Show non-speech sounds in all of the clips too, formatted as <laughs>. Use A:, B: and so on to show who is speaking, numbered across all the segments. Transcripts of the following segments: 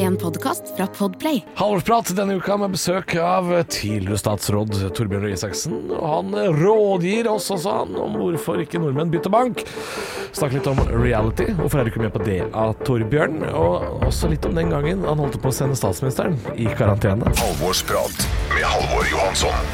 A: En podkast fra Podplay.
B: Halvorsprat denne uka med besøk av tidligere statsråd Torbjørn Røe Isaksen. Og han rådgir oss også han, om hvorfor ikke nordmenn bytter bank. Snakk litt om reality. Hvorfor er du ikke med på det av Torbjørn? Og også litt om den gangen han holdt på å sende statsministeren i karantene.
C: Halvorsprat med Halvor Johansson.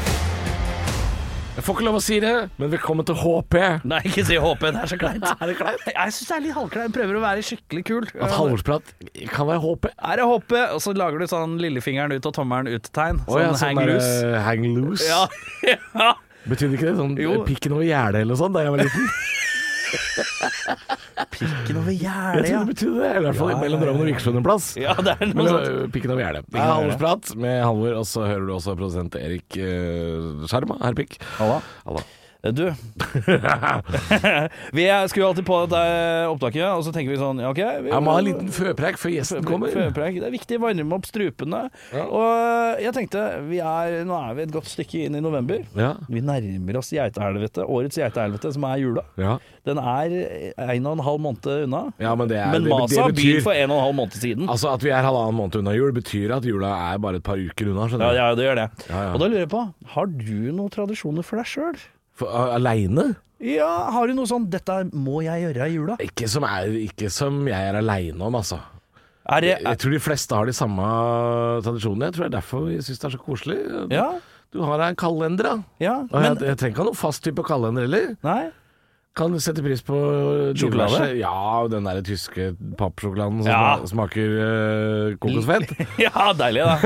B: Jeg får ikke lov å si det, men velkommen til HP.
D: Nei, ikke si HP. Det er så kleint. Er det kleint? Jeg syns det er litt halvkleint. Prøver å være skikkelig kul.
B: At halvorsprat kan være HP.
D: Er det HP, og så lager du sånn lillefingeren ut og tommelen ut-tegn. Sånn
B: Å ja,
D: hang
B: der,
D: loose.
B: eh, hang loose. <laughs>
D: Ja. ja.
B: Betydde ikke det sånn
D: Jo.
B: pikken over gjerdet eller sånn da jeg var liten?
D: Ikke noe
B: Jeg
D: jævlig,
B: tror det betydde det. Eller i hvert fall mellom Drammen og Vikersund en plass.
D: Ja, det er noe sånn-
B: Men
D: sånt.
B: øh, pikken over gjerdet. Det er Halvorsprat med Halvor, og så hører du også produsent Erik øh, Skjerma, herr Pikk.
D: Halla.
B: Halla.
D: Eh, Du Vi er- skrur alltid på dette opptaket, og så tenker vi sånn ja, OK vi,
B: Jeg må ha en liten føpreik før gjesten kommer.
D: Føpreik. Det er viktig å varme opp strupene. Og eh, jeg tenkte vi er, Nå er vi et godt stykke inn i november.
B: Ja.
D: Vi nærmer oss geitehelvete. Årets geitehelvete, som er jula.
B: Ja.
D: Den er en og en halv måned unna.
B: ja, men det er
D: Men
B: det,
D: maset
B: det
D: har begynt
B: betyr
D: for en og en halv måned siden.
B: Altså At vi er halvannen måned unna jul, betyr at jula er bare et par uker unna.
D: Ja,
B: skjønner du?
D: ja, det gjør det.
B: Ja, ja.
D: Og da lurer jeg på, har du noen tradisjoner for deg sjøl?
B: For, øh, Aleine?
D: Ja, har du noe sånn 'dette må jeg gjøre i jula'?
B: Ikke, som er- ikke som jeg er aleine om, altså.
D: Er det,
B: Jeg, jeg tror de fleste har de samme tradisjonene. Jeg tror det er derfor vi syns det er så koselig.
D: ja,
B: Du har deg en kalender, da.
D: ja,
B: Og jeg,
D: men
B: jeg trenger ikke ha noen fast type kalender heller. <laughs>
D: Nei?
B: Kan du sette pris på
D: Sjokolade?
B: diverse- Ja, den der tyske pappsjokoladen som
D: Ja.
B: sma- smaker eh,
D: <laughs>
B: kokosfett.
D: Ja, deilig, da.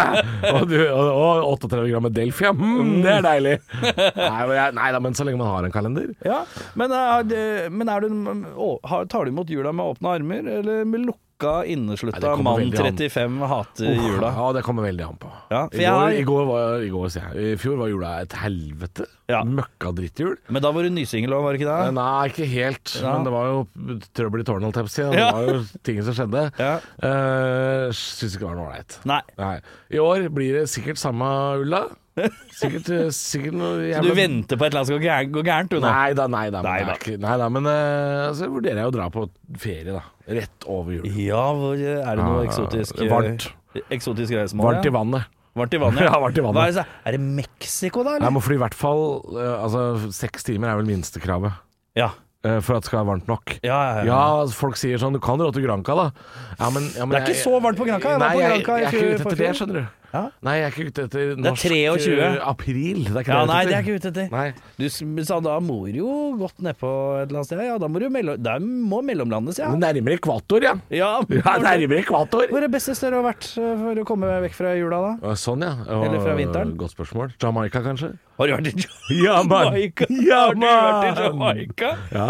B: og, du, og, og 38 gram med Delfia. Mm, det er deilig! Nei, men, jeg, nei da, men så lenge man har en kalender.
D: <laughs> Ja, men er det, men er du, å, har- tar du imot jula med åpne armer, eller med lukka
B: Nei, det
D: inneslutta
B: kommer
D: mann
B: veldig an.
D: 35 hater jula?
B: Ja, det kommer veldig an på.
D: Ja, for jeg
B: I, går,
D: har-
B: i, går var, I går, sier jeg. I fjor var jula et helvete.
D: Ja.
B: Møkka drittjul.
D: Men da var du nysingel òg, var det ikke det?
B: Nei, ikke helt.
D: Ja.
B: Men det var jo trøbbel i tårnet, holdt jeg på å si. Det
D: Ja.
B: var jo ting som skjedde.
D: Ja.
B: Eh, Syns ikke det var noe ålreit.
D: Nei.
B: Nei. I år blir det sikkert samme ulla.
D: <laughs>
B: Sikkert, eh, sikkert noe
D: Så du venter på et eller annet som går gæ- går gærent, du nå?
B: Nei da, nei da. Men,
D: Nei
B: det er
D: da.
B: Ikke, nei da, men eh, så vurderer jeg å dra på ferie, da. Rett over jul.
D: Ja, hvor eh, er det noe
B: Ja,
D: eksotisk
B: Ah, varmt.
D: Eksotisk reisemål?
B: Varmt
D: ja?
B: i vannet.
D: Varmt i vannet.
B: <laughs> Ja, varmt i vannet.
D: Hva er, det, så- er det Mexico, da?
B: Jeg
D: Eller?
B: må fly i hvert fall eh, Altså, seks timer er vel minstekravet
D: Ja.
B: eh, for at det skal være varmt nok.
D: Ja, ja, ja.
B: Ja, folk sier sånn Du kan dra til Granca, da. Ja, men, ja, men
D: Det er ikke så varmt på Granca. Jeg var
B: Nei,
D: på Granca i
B: jeg, jeg er
D: fjor-
B: ikke ute etter
D: forfjor.
B: det, skjønner du.
D: Ja.
B: Nei, jeg er ikke ute etter norsk
D: 23.
B: eh, april. Det er ikke
D: Ja,
B: det
D: nei, det
B: jeg
D: er jeg ikke ute etter.
B: Nei.
D: Du s- sa da må du jo godt nedpå et eller annet sted. Ja, da må du mellom, der må mellomlandes, ja.
B: Nærmere ekvator, Mm. <laughs> ja.
D: Ja,
B: Ja, nærmere ekvator.
D: Hvor er det beste stedet du har vært eh, for å komme vekk fra jula, da?
B: Å, Sånn, ja. Å,
D: Eller fra vinteren.
B: Godt spørsmål. Jamaica, kanskje?
D: Har du vært i
B: Ja,
D: Jamaica? Har du vært i Jamaica?
B: Ja.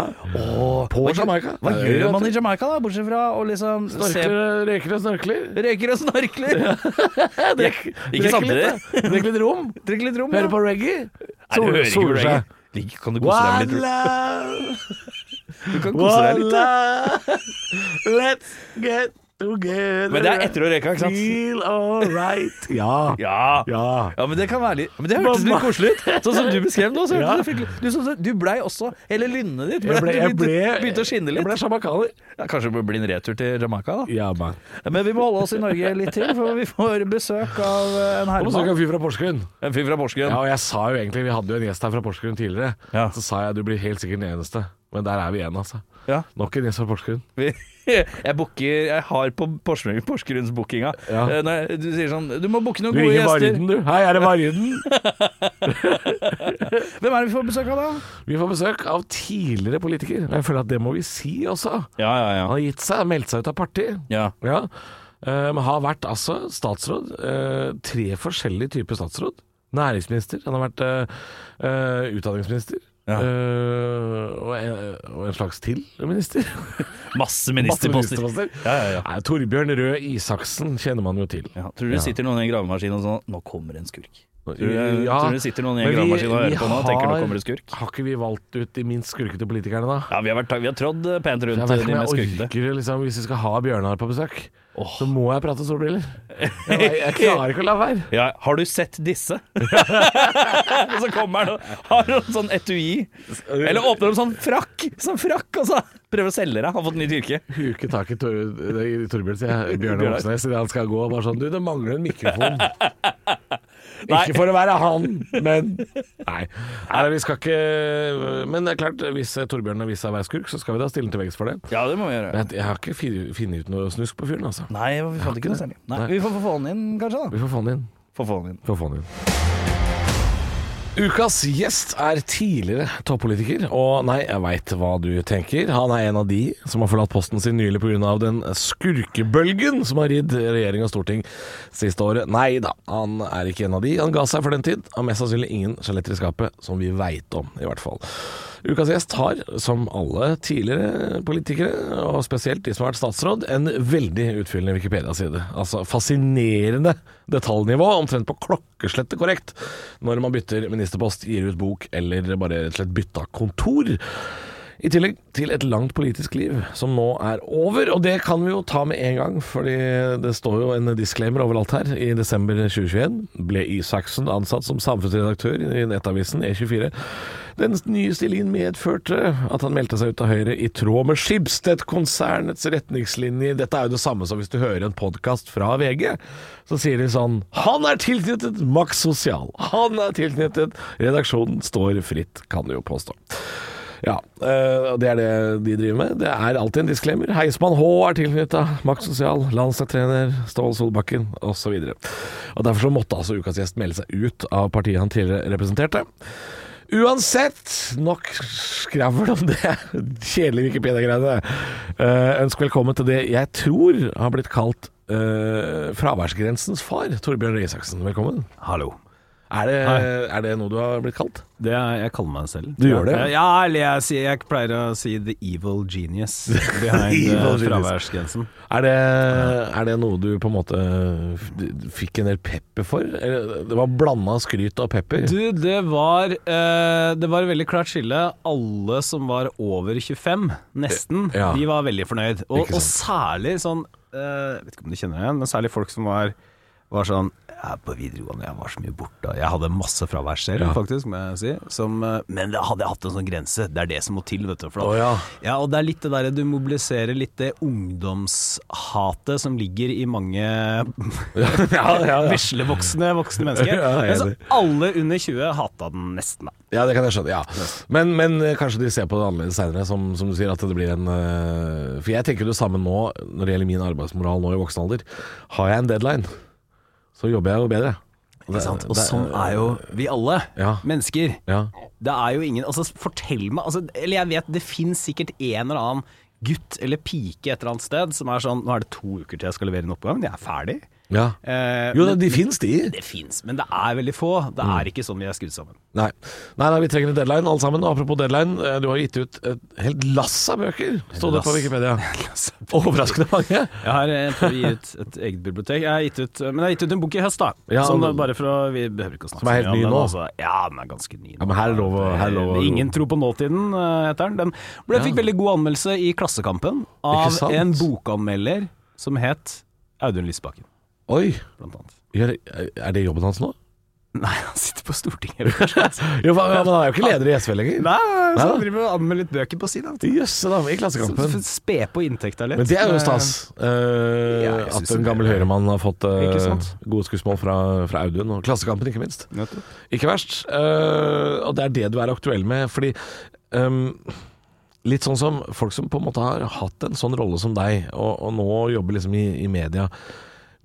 B: På Jamaica.
D: Hva
B: Det er
D: gjør
B: jo-
D: man i Jamaica, da? Bortsett fra å liksom se
B: Snorkler, røyker og snorkler.
D: Røyker og <laughs> snorkler.
B: Drikk-
D: Ikke
B: drikk
D: samtidig.
B: litt, da. Drikk litt rom.
D: Drikker litt rom, <laughs>
B: Hører
D: ja.
B: på reggae.
D: Nei, du hører ikke
B: Sol-
D: hvor det er.
B: solskjær.
D: Ligg, Kan du kose deg
B: One
D: med litt?
B: love,
D: Du kan kose deg
B: one
D: litt da.
B: love. Let's get together.
D: Men det er etter å røyke, ikke sant?
B: Feel alright. Ja.
D: Ja.
B: Ja.
D: Ja, men det kan være litt Men det hørtes
B: Mamma.
D: litt koselig ut. Sånn som du beskrev nå. Så
B: Ja.
D: hørtes det fryktelig- du, som- du blei også Hele lynnet ditt ble,
B: Jeg ble,
D: du
B: jeg ble,
D: begynte, begynte å skinne litt.
B: Jeg ble sjamarkaner.
D: Ja, kanskje det blir en retur til Jamaica, da.
B: Ja, man.
D: Men vi må holde oss i Norge litt til, for vi får besøk av eh, en
B: Og så
D: herremann.
B: kan fyr fra Porsgrunn.
D: En fyr fra
B: Ja,
D: Porsgrunn.
B: og jeg sa jo egentlig, Vi hadde jo en gjest her fra Porsgrunn tidligere.
D: Ja.
B: Så sa jeg du blir helt sikkert den eneste. Men der er vi igjen, altså.
D: Ja.
B: Nok en gjest fra Porsgrunn.
D: Vi- <laughs> Jeg booker Jeg har på Porsgrunn, Porsgrunnsbookinga.
B: Ja.
D: Eh, Når du sier sånn Du må booke noen
B: Du
D: gode
B: ringer
D: gjester.
B: Varden, du. Hei, er det Varden?
D: Hvem er det vi får besøk av da?
B: Vi får besøk av tidligere politiker. Og jeg føler at det må vi si også.
D: Ja, ja,
B: Han har gitt seg, meldt seg ut av parti.
D: Ja.
B: Ja. Eh, Men har vært altså statsråd. eh, Tre forskjellige typer statsråd. Næringsminister. Han har vært eh, eh, utdanningsminister. Eh, og, en, og en slags til
E: <laughs>
B: minister.
E: Masse
B: Masse
E: ministerposter.
B: ministerposter.
E: Ja, ja, ja.
B: Nei, Torbjørn Røe Isaksen kjenner man jo til.
E: Ja, tror du det sitter noen i en gravemaskin og sånn Nå kommer det en skurk. Tror du,
B: Ja,
E: tror du det sitter noen i en
B: men vi-
E: gravemaskin og hører
B: vi
E: på nå og tenker nå
B: har-
E: kommer det skurk?
B: Har ikke vi valgt ut de minst skurkete politikerne, da?
E: Ja, vi har, vært, vi har trådd eh, pent rundt
B: Jeg vet
E: de
B: ikke om
E: mest
B: jeg
E: skurkete.
B: orker liksom, Hvis vi skal ha Bjørnar på besøk, så må jeg prate
E: <laughs>
B: solbriller. Jeg, jeg klarer ikke å la være.
E: Ja, har du sett disse? <laughs> og så kommer han og har en sånn etui. Eller åpner en sånn frakk. Sånn frakk, og så prøver å selge deg. Har fått nytt yrke.
B: Huke tak i Tor, i Torbjørn, sier jeg. Bjørnar Moxnes idet han skal gå. Bare sånn Du, det mangler en
E: <laughs>
B: mikrofon.
E: Nei.
B: Ikke for å være han, men Nei. Nei, vi skal ikke Men det er klart, hvis eh, Torbjørn har vist seg å være skurk, så skal vi da stille han til veggs for det.
E: Ja, det må vi gjøre.
B: Men jeg, jeg har ikke fi- funnet ut noe snusk på fyren, altså.
E: Nei, vi fant ikke noe særlig. Nei, Vi får få han inn, kanskje. da
B: Vi får få han inn.
E: Får få han inn.
B: Få få den inn. Ukas gjest er tidligere toppolitiker, og nei, jeg veit hva du tenker. Han er en av de som har forlatt posten sin nylig pga. den skurkebølgen som har ridd regjering og storting siste året. Nei da, han er ikke en av de. Han ga seg for den tid. Har mest sannsynlig ingen skjeletter i skapet, som vi veit om, i hvert fall. Ukas gjest har, som alle tidligere politikere, og spesielt de som har vært statsråd, en veldig utfyllende Wikipedia-side. Altså fascinerende detaljnivå, omtrent på klokkeslettet korrekt, når man bytter ministerpost, gir ut bok eller bare rett og slett bytta kontor. I tillegg til et langt politisk liv som nå er over, og det kan vi jo ta med en gang, fordi det står jo en disclaimer overalt her. I desember 2021 ble Isaksen ansatt som samfunnsredaktør i nettavisen E E24. Den nye stillingen medførte at han meldte seg ut av Høyre i tråd med Schibsted-konsernets retningslinjer. Dette er jo det samme som hvis du hører en podkast fra VG, så sier de sånn Han er tilknyttet Max Sosial. Han er tilknyttet Redaksjonen står fritt, kan du jo påstå. Ja, øh, og det er det de driver med. Det er alltid en disclaimer. Heismann H er tilknytta Max Sosial, landslagstrener Ståle Solbakken osv. Derfor så måtte altså ukas gjest melde seg ut av partiet han tidligere representerte. Uansett, nok skravl om det kjedelige Wikipedia-greiene. Eh, ønsk velkommen til det jeg tror har blitt kalt eh, fraværsgrensens far, Torbjørn Røe Isaksen. Velkommen.
F: Hallo.
B: Er det, er det noe du har blitt kalt?
F: Det er, jeg kaller meg selv.
B: Du gjør det, ja.
F: Ja, ja eller jeg, sier, jeg pleier å si the evil genius
B: <laughs>
F: behind
B: Evil
F: eh,
B: genius.
F: fraværsgrensen.
B: Er det, er det noe du på en måte f- fikk en del pepper for? Eller, Det var blanda skryt og pepper.
F: Du, det var, eh, det var et veldig klart skille. Alle som var over 25, nesten,
B: Ja.
F: de var veldig fornøyd. Og,
B: Ikke
F: og særlig sånn eh, Vet ikke om du kjenner deg igjen, men særlig folk som var var sånn ja, På videregående jeg var så mye borte. Jeg hadde masse fravær selv,
B: Ja.
F: faktisk. Må jeg si som, eh, Men da hadde jeg hatt en sånn grense. Det er det som må til. vet du for da-
B: Å, ja.
F: ja, og det er litt det derre Du mobiliserer litt det ungdomshatet som ligger i
B: <laughs>
F: mange veslevoksne voksne mennesker.
B: <laughs> Ja, jeg er
F: Men så
B: enig.
F: alle under 20 hata den nesten, da.
B: Ja, det kan jeg skjønne. ja Men, men eh, kanskje de ser på det annerledes seinere, som, som du sier. At det blir en øh, For jeg tenker det samme nå når det gjelder min arbeidsmoral nå i voksen alder. Har jeg en deadline, så jobber jeg jo bedre.
F: Ikke sant? Og sånn er jo vi alle
B: Ja.
F: mennesker.
B: Ja.
F: Det er jo ingen Altså, fortell meg altså, Eller jeg vet, det fins sikkert en eller annen gutt eller pike et eller annet sted som er sånn Nå er det to uker til jeg skal levere en oppgave, men jeg er ferdig.
B: ja.
F: Eh,
B: Jo, Mm.
F: men-
B: de fins, de.
F: det fins, men det er veldig få. Det er ikke sånn vi er skrudd
B: <laughs>
F: sammen.
B: Nei. nei, nei, vi trenger en deadline alle sammen. Og apropos deadline, eh, du har gitt ut et helt lass av bøker, sto det på
F: lass.
B: Wikipedia. altså, Overraskende mange.
F: Jeg har eh, prøvd å gi ut et eget bibliotek. Jeg har gitt ut, men jeg har gitt ut en bok i høst, da.
B: Ja,
F: som
B: men-
F: bare for å, vi behøver ikke å snakke
B: Som er helt
F: så mye
B: ny
F: om den,
B: nå.
F: Altså. Ja, den er ganske ny. nå. Eh,
B: Ja, men her er lov å- her er lov å-
F: Ingen tro på nåtiden, eh, heter den. Den ble, fikk veldig god anmeldelse i Klassekampen
B: Ikke
F: av
B: sant?
F: en bokanmelder som het Audun Lysbakken,
B: Oi,
F: blant
B: <laughs>
F: annet.
B: gjør- er det jobben hans nå?
F: Nei, han sitter på Stortinget. rett og
B: <laughs>
F: slett.
B: Jo, men men han er jo ikke leder i SV lenger.
F: Nei, så
B: da.
F: han driver og anmelder litt bøker på si, da.
B: Jøsse da, i Klassekampen.
F: Spe på inntekta litt.
B: Men det er jo
F: Eh,
B: stas. eh,
F: Ja, jeg
B: at
F: synes
B: en
F: det-
B: gammel høyremann har fått eh,
F: Ikke sant?
B: gode skussmål fra, fra Audun, og Klassekampen ikke minst.
F: nettopp.
B: Ikke verst. eh, og det er det du er aktuell med, fordi ehm, Litt sånn som folk som på en måte har hatt en sånn rolle som deg, og, og nå jobber liksom i, i media.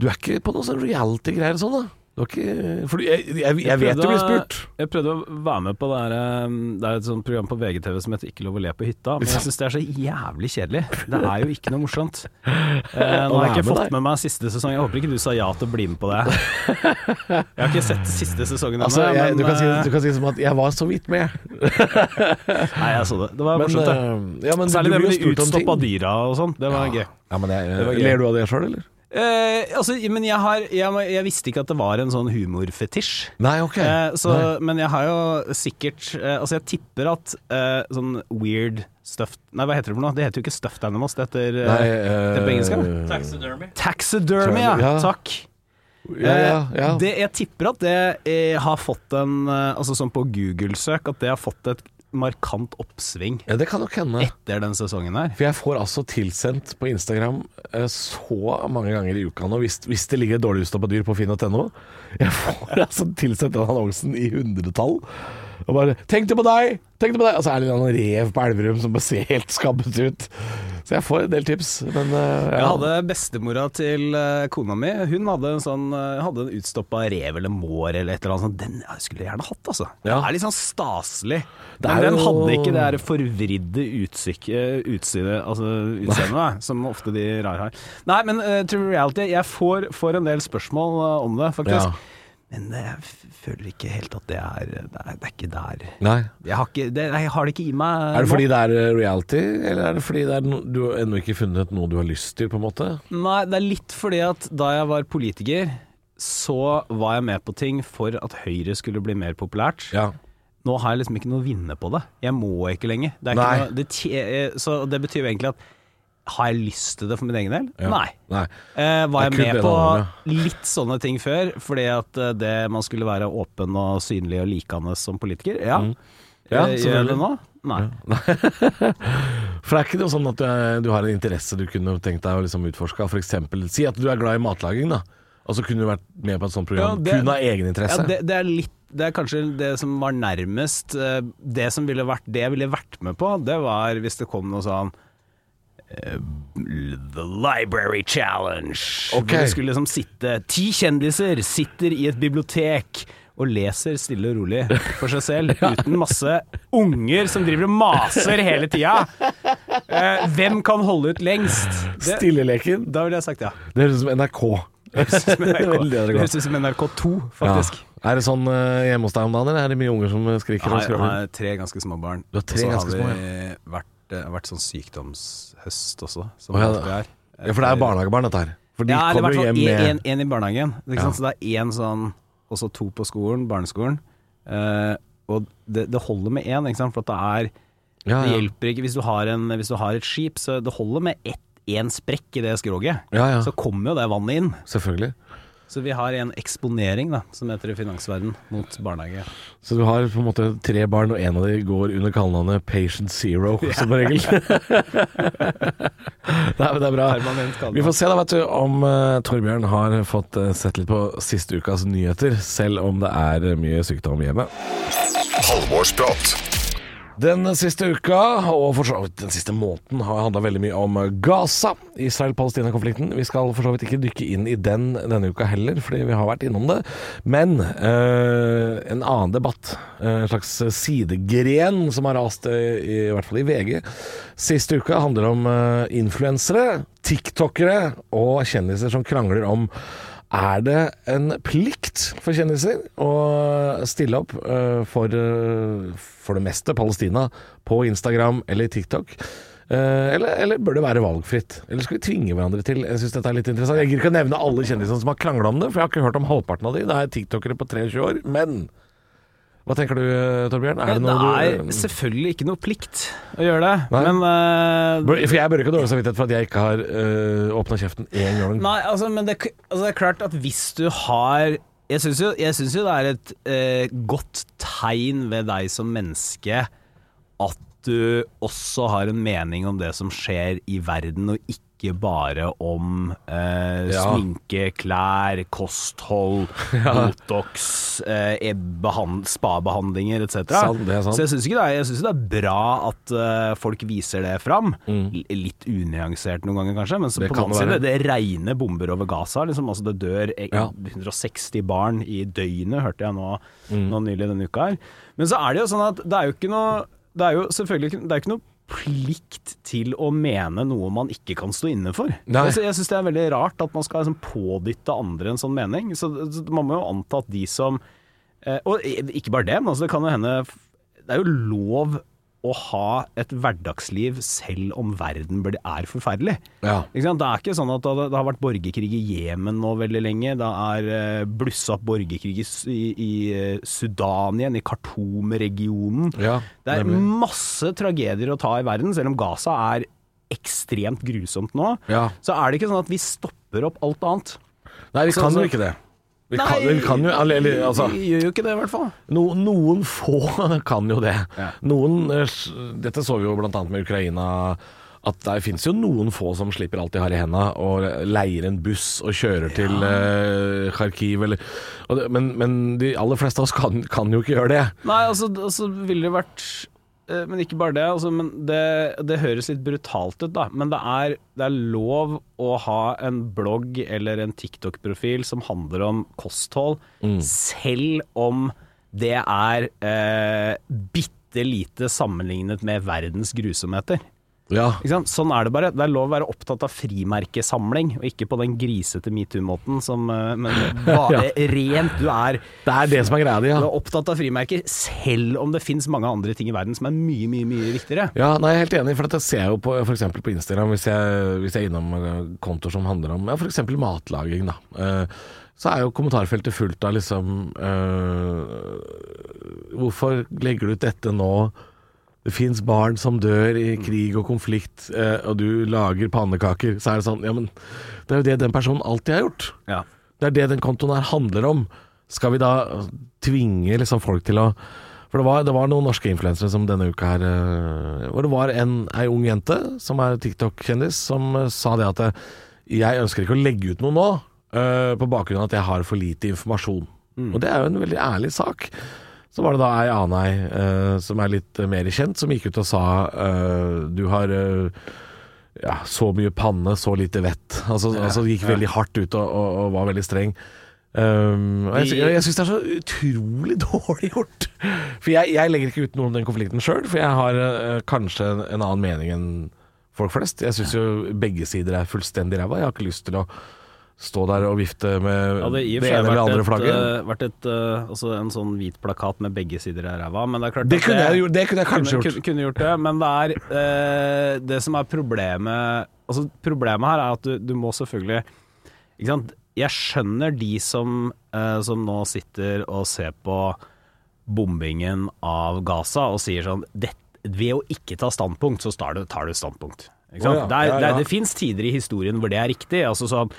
B: Du er ikke på noen sånn reality-greier og sånn, da? Det var ikke For jeg, jeg, jeg vet
F: prøvde
B: du blir
F: å-
B: spurt.
F: Jeg prøvde å være med på det her um, Det er et sånt program på VGTV som heter Ikke lov å le på hytta, men jeg syns det er så jævlig kjedelig. Det er jo ikke noe morsomt. Eh, nå
B: være
F: har jeg ikke
B: med
F: fått
B: deg.
F: med meg siste sesong. Jeg håper ikke du sa ja til å bli med på det. Jeg har ikke sett siste sesongen ennå,
B: Altså, jeg, du,
F: men
B: kan si,
F: eh,
B: du kan si det som at 'jeg var så vidt med'.
F: Nei, jeg så det. Det var
B: Men,
F: morsomt, det.
B: eh, ja, men
F: Særlig
B: du
F: det
B: blir jo
F: med de
B: spurt om ting.
F: utstoppa dyra og sånn. Det var gøy.
B: Ja, men jeg,
F: var gøy.
B: Ler du av det sjøl, eller?
F: Eh, altså, men jeg, har, jeg, må- jeg visste ikke at det var en sånn humorfetisj.
B: Nei, ok.
F: Eh, så,
B: Nei.
F: men jeg har jo sikkert eh, Altså, jeg tipper at eh, sånn weird stuffed Nei, hva heter det for noe? Det heter jo ikke stuffed animals, det heter eh,
B: Nei,
F: det er på engelsk,
B: eh,
E: Taxidermy.
F: Taxidermy, ja.
B: Ja.
F: Takk.
B: Ja, ja, ja.
F: Eh, Det, jeg tipper at det eh, har fått en eh, Altså sånn på Google-søk, at det har fått et markant oppsving
B: ja, det kan nok hende.
F: etter den sesongen her.
B: For jeg får altså tilsendt på Instagram eh, så mange ganger i uka nå, hvis, hvis det ligger dårlig utstoppa dyr på finn.no. Jeg får <laughs> altså tilsendt den annonsen i hundretall. Og bare 'Tenk det på deg! Tenk det på deg!' Og så er det en eller annen rev på Elverum som bare ser helt skabbet ut. Så jeg får en del tips, men eh,
F: Jeg
B: ja.
F: hadde bestemora til eh, kona mi. Hun hadde en sånn eh, Hadde en utstoppa rev eller mår eller et eller annet sånt. Den jeg skulle jeg gjerne hatt, altså.
B: Ja.
F: Det er litt sånn staselig.
B: Det
F: Men
B: er
F: den
B: jo-
F: hadde ikke det der forvridde utsyke- utsynet, altså utseendet, da, som ofte de rare har. Nei, men eh, true reality, jeg får, får en del spørsmål eh, om det,
B: Ja.
F: faktisk. Men eh, jeg f- føler ikke helt at det er Det er, det er ikke der.
B: Nei.
F: Jeg har, ikke, det, jeg har det ikke i meg.
B: Er det
F: nå.
B: fordi det er eh, reality, eller er det fordi det er no, du har ennå ikke funnet noe du har lyst til, på en måte?
F: Nei, det er litt fordi at da jeg var politiker, så var jeg med på ting for at Høyre skulle bli mer populært.
B: Ja.
F: Nå har jeg liksom ikke noe å vinne på det. Jeg må ikke lenger. Det er
B: Nei.
F: ikke noe, det, tje- eh, så det betyr jo egentlig at har jeg lyst til det for min egen del?
B: Ja.
F: Nei.
B: Nei.
F: Eh,
B: Det
F: var jeg
B: er kun
F: med
B: det
F: på
B: det handler
F: litt sånne ting før, fordi at eh, det man skulle være åpen og synlig og likende som politiker? Ja.
B: Mm. Ja,
F: Eh, Gjør jeg
B: selvfølgelig.
F: det nå? Nei.
B: For det er ikke noe sånn at du, er, du har en interesse du kunne tenkt deg å liksom utforske. For eksempel, si at du er glad i matlaging, da. Og så kunne du vært med på et sånt program
F: Ja, det-
B: kun av
F: Ja,
B: egeninteresse.
F: det, det er litt det er kanskje det som var nærmest eh, Det som ville vært det jeg ville vært med på, det var hvis det kom noe sånn eh, The Library Challenge.
B: Ok.
F: Hvor det skulle liksom sitte Ti kjendiser sitter i et bibliotek og leser stille og rolig for seg
B: <laughs>
F: selv, uten masse unger som driver og maser hele tida. Eh, hvem kan holde ut lengst? Det,
B: Stilleleken.
F: da ville jeg sagt ja.
B: Det høres ut som
F: <laughs>
B: NRK. <laughs> Veldig
F: Det
B: NRK.
F: høres ut som NRK2,
B: Ja.
F: faktisk.
B: Er det sånn eh, hjemme hos deg om dagen, eller er det mye unger som eh, skriker og
F: Nei, jeg
B: skravler?
F: har tre ganske små barn.
B: Du har tre ganske
F: Og så
B: små,
F: har vi vært, det har vært sånn sykdomshøst også, som
B: Å, ja,
F: alltid er.
B: Ja, for det er barnehagebarn, dette her. For de
F: ja, eller i
B: kommer
F: hvert
B: jo hjem
F: fall
B: med
F: én- én i barnehagen. Ikke sant? Så det er én sånn, og så to på skolen, barneskolen. Eh, og det, det holder med én, ikke sant? for at det er
B: ja,
F: Det
B: ja.
F: hjelper ikke hvis du har, en, hvis du har et skip, så det holder med ett. En sprekk i det skroget,
B: Ja, ja.
F: så kommer jo det vannet inn.
B: Selvfølgelig.
F: Så vi har en eksponering da, som heter i finansverden mot barnehage.
B: Så du har på en måte tre barn, og en av de går under kallenavnet Patient Zero,
F: <laughs>
B: som regel. <laughs> Nei, men det er bra.
F: Permanent kallenavn.
B: Vi får se da, vet du, om eh, Torbjørn har fått eh, sett litt på siste ukas nyheter, selv om det er eh, mye sykdom hjemme.
C: Halvorsprat.
B: Den siste uka, og for så vidt den siste måneden, har handla veldig mye om Gaza. Israel-Palestina-konflikten. Vi skal for så vidt ikke dykke inn i den denne uka heller, fordi vi har vært innom det. Men eh, en annen debatt, eh, en slags sidegren som har rast, eh, i, i hvert fall i VG, siste uka handler om eh, influensere, tiktokere og kjendiser som krangler om er det en plikt for kjendiser å stille opp eh, for, eh, for det meste Palestina på Instagram eller TikTok? Eh, eller, eller bør det være valgfritt? Eller skal vi tvinge hverandre til Jeg synes dette er litt interessant. Jeg gir ikke å nevne alle kjendisene som har krangla om det, for jeg har ikke hørt om halvparten av de. Det er tiktokere på 23 år. Men hva tenker du, eh, Torbjørn? Er det
F: det,
B: noe
F: er
B: du
F: selvfølgelig ikke noe plikt å gjøre det,
B: Nei.
F: men eh,
B: Bør- For jeg bør ikke ha dårlig samvittighet for at jeg ikke har uh, åpna kjeften én gang.
F: Nei, altså, men det, altså, det er klart at hvis du har Jeg syns jo, jeg synes jo det er et eh, godt tegn ved deg som menneske at du også har en mening om det som skjer i verden, og ikke ikke bare om eh,
B: Ja.
F: sminke, klær,
B: <laughs>
F: kosthold, Botox, eh, e- behan- spabehandlinger etc.
B: Sant, det er sant.
F: Så jeg syns ikke det er, jeg synes det er bra at eh, folk viser det fram. L- Litt unyansert noen ganger kanskje, men så
B: Mm. Det
F: på
B: kan
F: den annen
B: det
F: side,
B: være.
F: det regner bomber over Gaza. Liksom, altså det dør eh,
B: Ja.
F: 160 barn i døgnet, hørte jeg nå,
B: Mm.
F: nå nylig denne uka her. Men så er det jo sånn at det er jo ikke noe Det er jo selvfølgelig ikke, det er ikke noe plikt til å mene noe man ikke kan stå inne for.
B: Nei.
F: Altså, jeg syns det er veldig rart at man skal liksom pådytte andre en sånn mening. Så, så man må jo anta at de som eh, Og ikke bare det, men altså, det kan jo hende Det er jo lov å ha et hverdagsliv selv om verden blir- er forferdelig.
B: Ja.
F: Ikke sant? Det er ikke sånn at det, det har vært borgerkrig i Jemen nå veldig lenge. Det er eh, blussa opp borgerkrig i, Su- i, i eh, Sudan igjen, i Khartoum-regionen.
B: Ja,
F: det er
B: nemlig.
F: masse tragedier å ta i verden, selv om Gaza er ekstremt grusomt nå.
B: Ja.
F: Så er det ikke sånn at vi stopper opp alt annet.
B: Nei, vi
F: Så-
B: kan
F: så-
B: jo ikke det. Vi kan, vi kan jo eller- eller, altså,
F: Vi gjør jo ikke det, i hvert fall.
B: no, Noen få <laughs> kan jo det.
F: Ja.
B: Noen eh, s- Dette så vi jo blant annet med Ukraina. At det finnes jo noen få som slipper alt de har i henda, og leier en buss og kjører til eh, Kharkiv eller og det, men, men de aller fleste av oss kan, kan jo ikke gjøre det.
F: Nei, altså, altså ville det vært eh, Men ikke bare det. Altså, men det, det høres litt brutalt ut, da. Men det er, det er lov å ha en blogg eller en TikTok-profil som handler om kosthold, selv om det er eh, bitte lite sammenlignet med verdens grusomheter.
B: Ja,
F: Ikke sant? Sånn er det bare. Det er lov å være opptatt av frimerkesamling, og ikke på den grisete metoo-måten som eh, Men bare rent du er
B: Det er det som er greia di, ja.
F: du er opptatt av frimerker, selv om det finnes mange andre ting i verden som er mye, mye, mye viktigere.
B: Ja, nei, jeg er helt enig, for dette ser jeg jo på f.eks. på Instagram, hvis jeg, hvis jeg er innom eh, kontoer som handler om ja, f.eks. matlaging, da. Eh, Så er jo kommentarfeltet fullt av liksom eh, Hvorfor legger du ut dette nå? Det fins barn som dør i krig og konflikt, eh, og du lager pannekaker. Så er det sånn Ja, men det er jo det den personen alltid har gjort.
F: Ja.
B: Det er det den kontoen her handler om. Skal vi da tvinge liksom folk til å For det var, det var noen norske influensere som denne uka her eh, Hvor det var en, ei ung jente som er TikTok-kjendis, som eh, sa det at eh, jeg ønsker ikke å legge ut noe nå eh, på bakgrunn av at jeg har for lite informasjon. Og det er jo en veldig ærlig sak. Så var det da ei annen ei eh, som er litt eh, mer kjent, som gikk ut og sa eh, du har eh, ja, så mye panne, så lite vett. Altså, altså gikk veldig hardt ut og, og, og var veldig streng. Um, og jeg, sy- jeg syns det er så utrolig <laughs> dårlig gjort. For jeg, jeg legger ikke ut noe om den konflikten sjøl, for jeg har eh, kanskje en, en annen mening enn folk flest. Jeg syns jo begge sider er fullstendig ræva. Jeg har ikke lyst til å stå der og vifte med det, ene eller andre flagget.
F: vært et, eh, altså en sånn hvit plakat med begge sider av ræva, men det er klart
B: det,
F: at
B: kunne jeg, gjort- det kunne jeg kanskje
F: kunne,
B: gjort.
F: Kunne gjort det, men det er eh, det som er problemet Altså Problemet her er at du, du må selvfølgelig Ikke sant? Jeg skjønner de som, eh, som nå sitter og ser på bombingen av Gaza og sier sånn «Dette- Ved å ikke ta standpunkt, så tar du, tar du standpunkt. Ikke sant?
B: Å ja,
F: det, er,
B: ja,
F: det,
B: ja.
F: er- det fins tider i historien hvor det er riktig. Altså sånn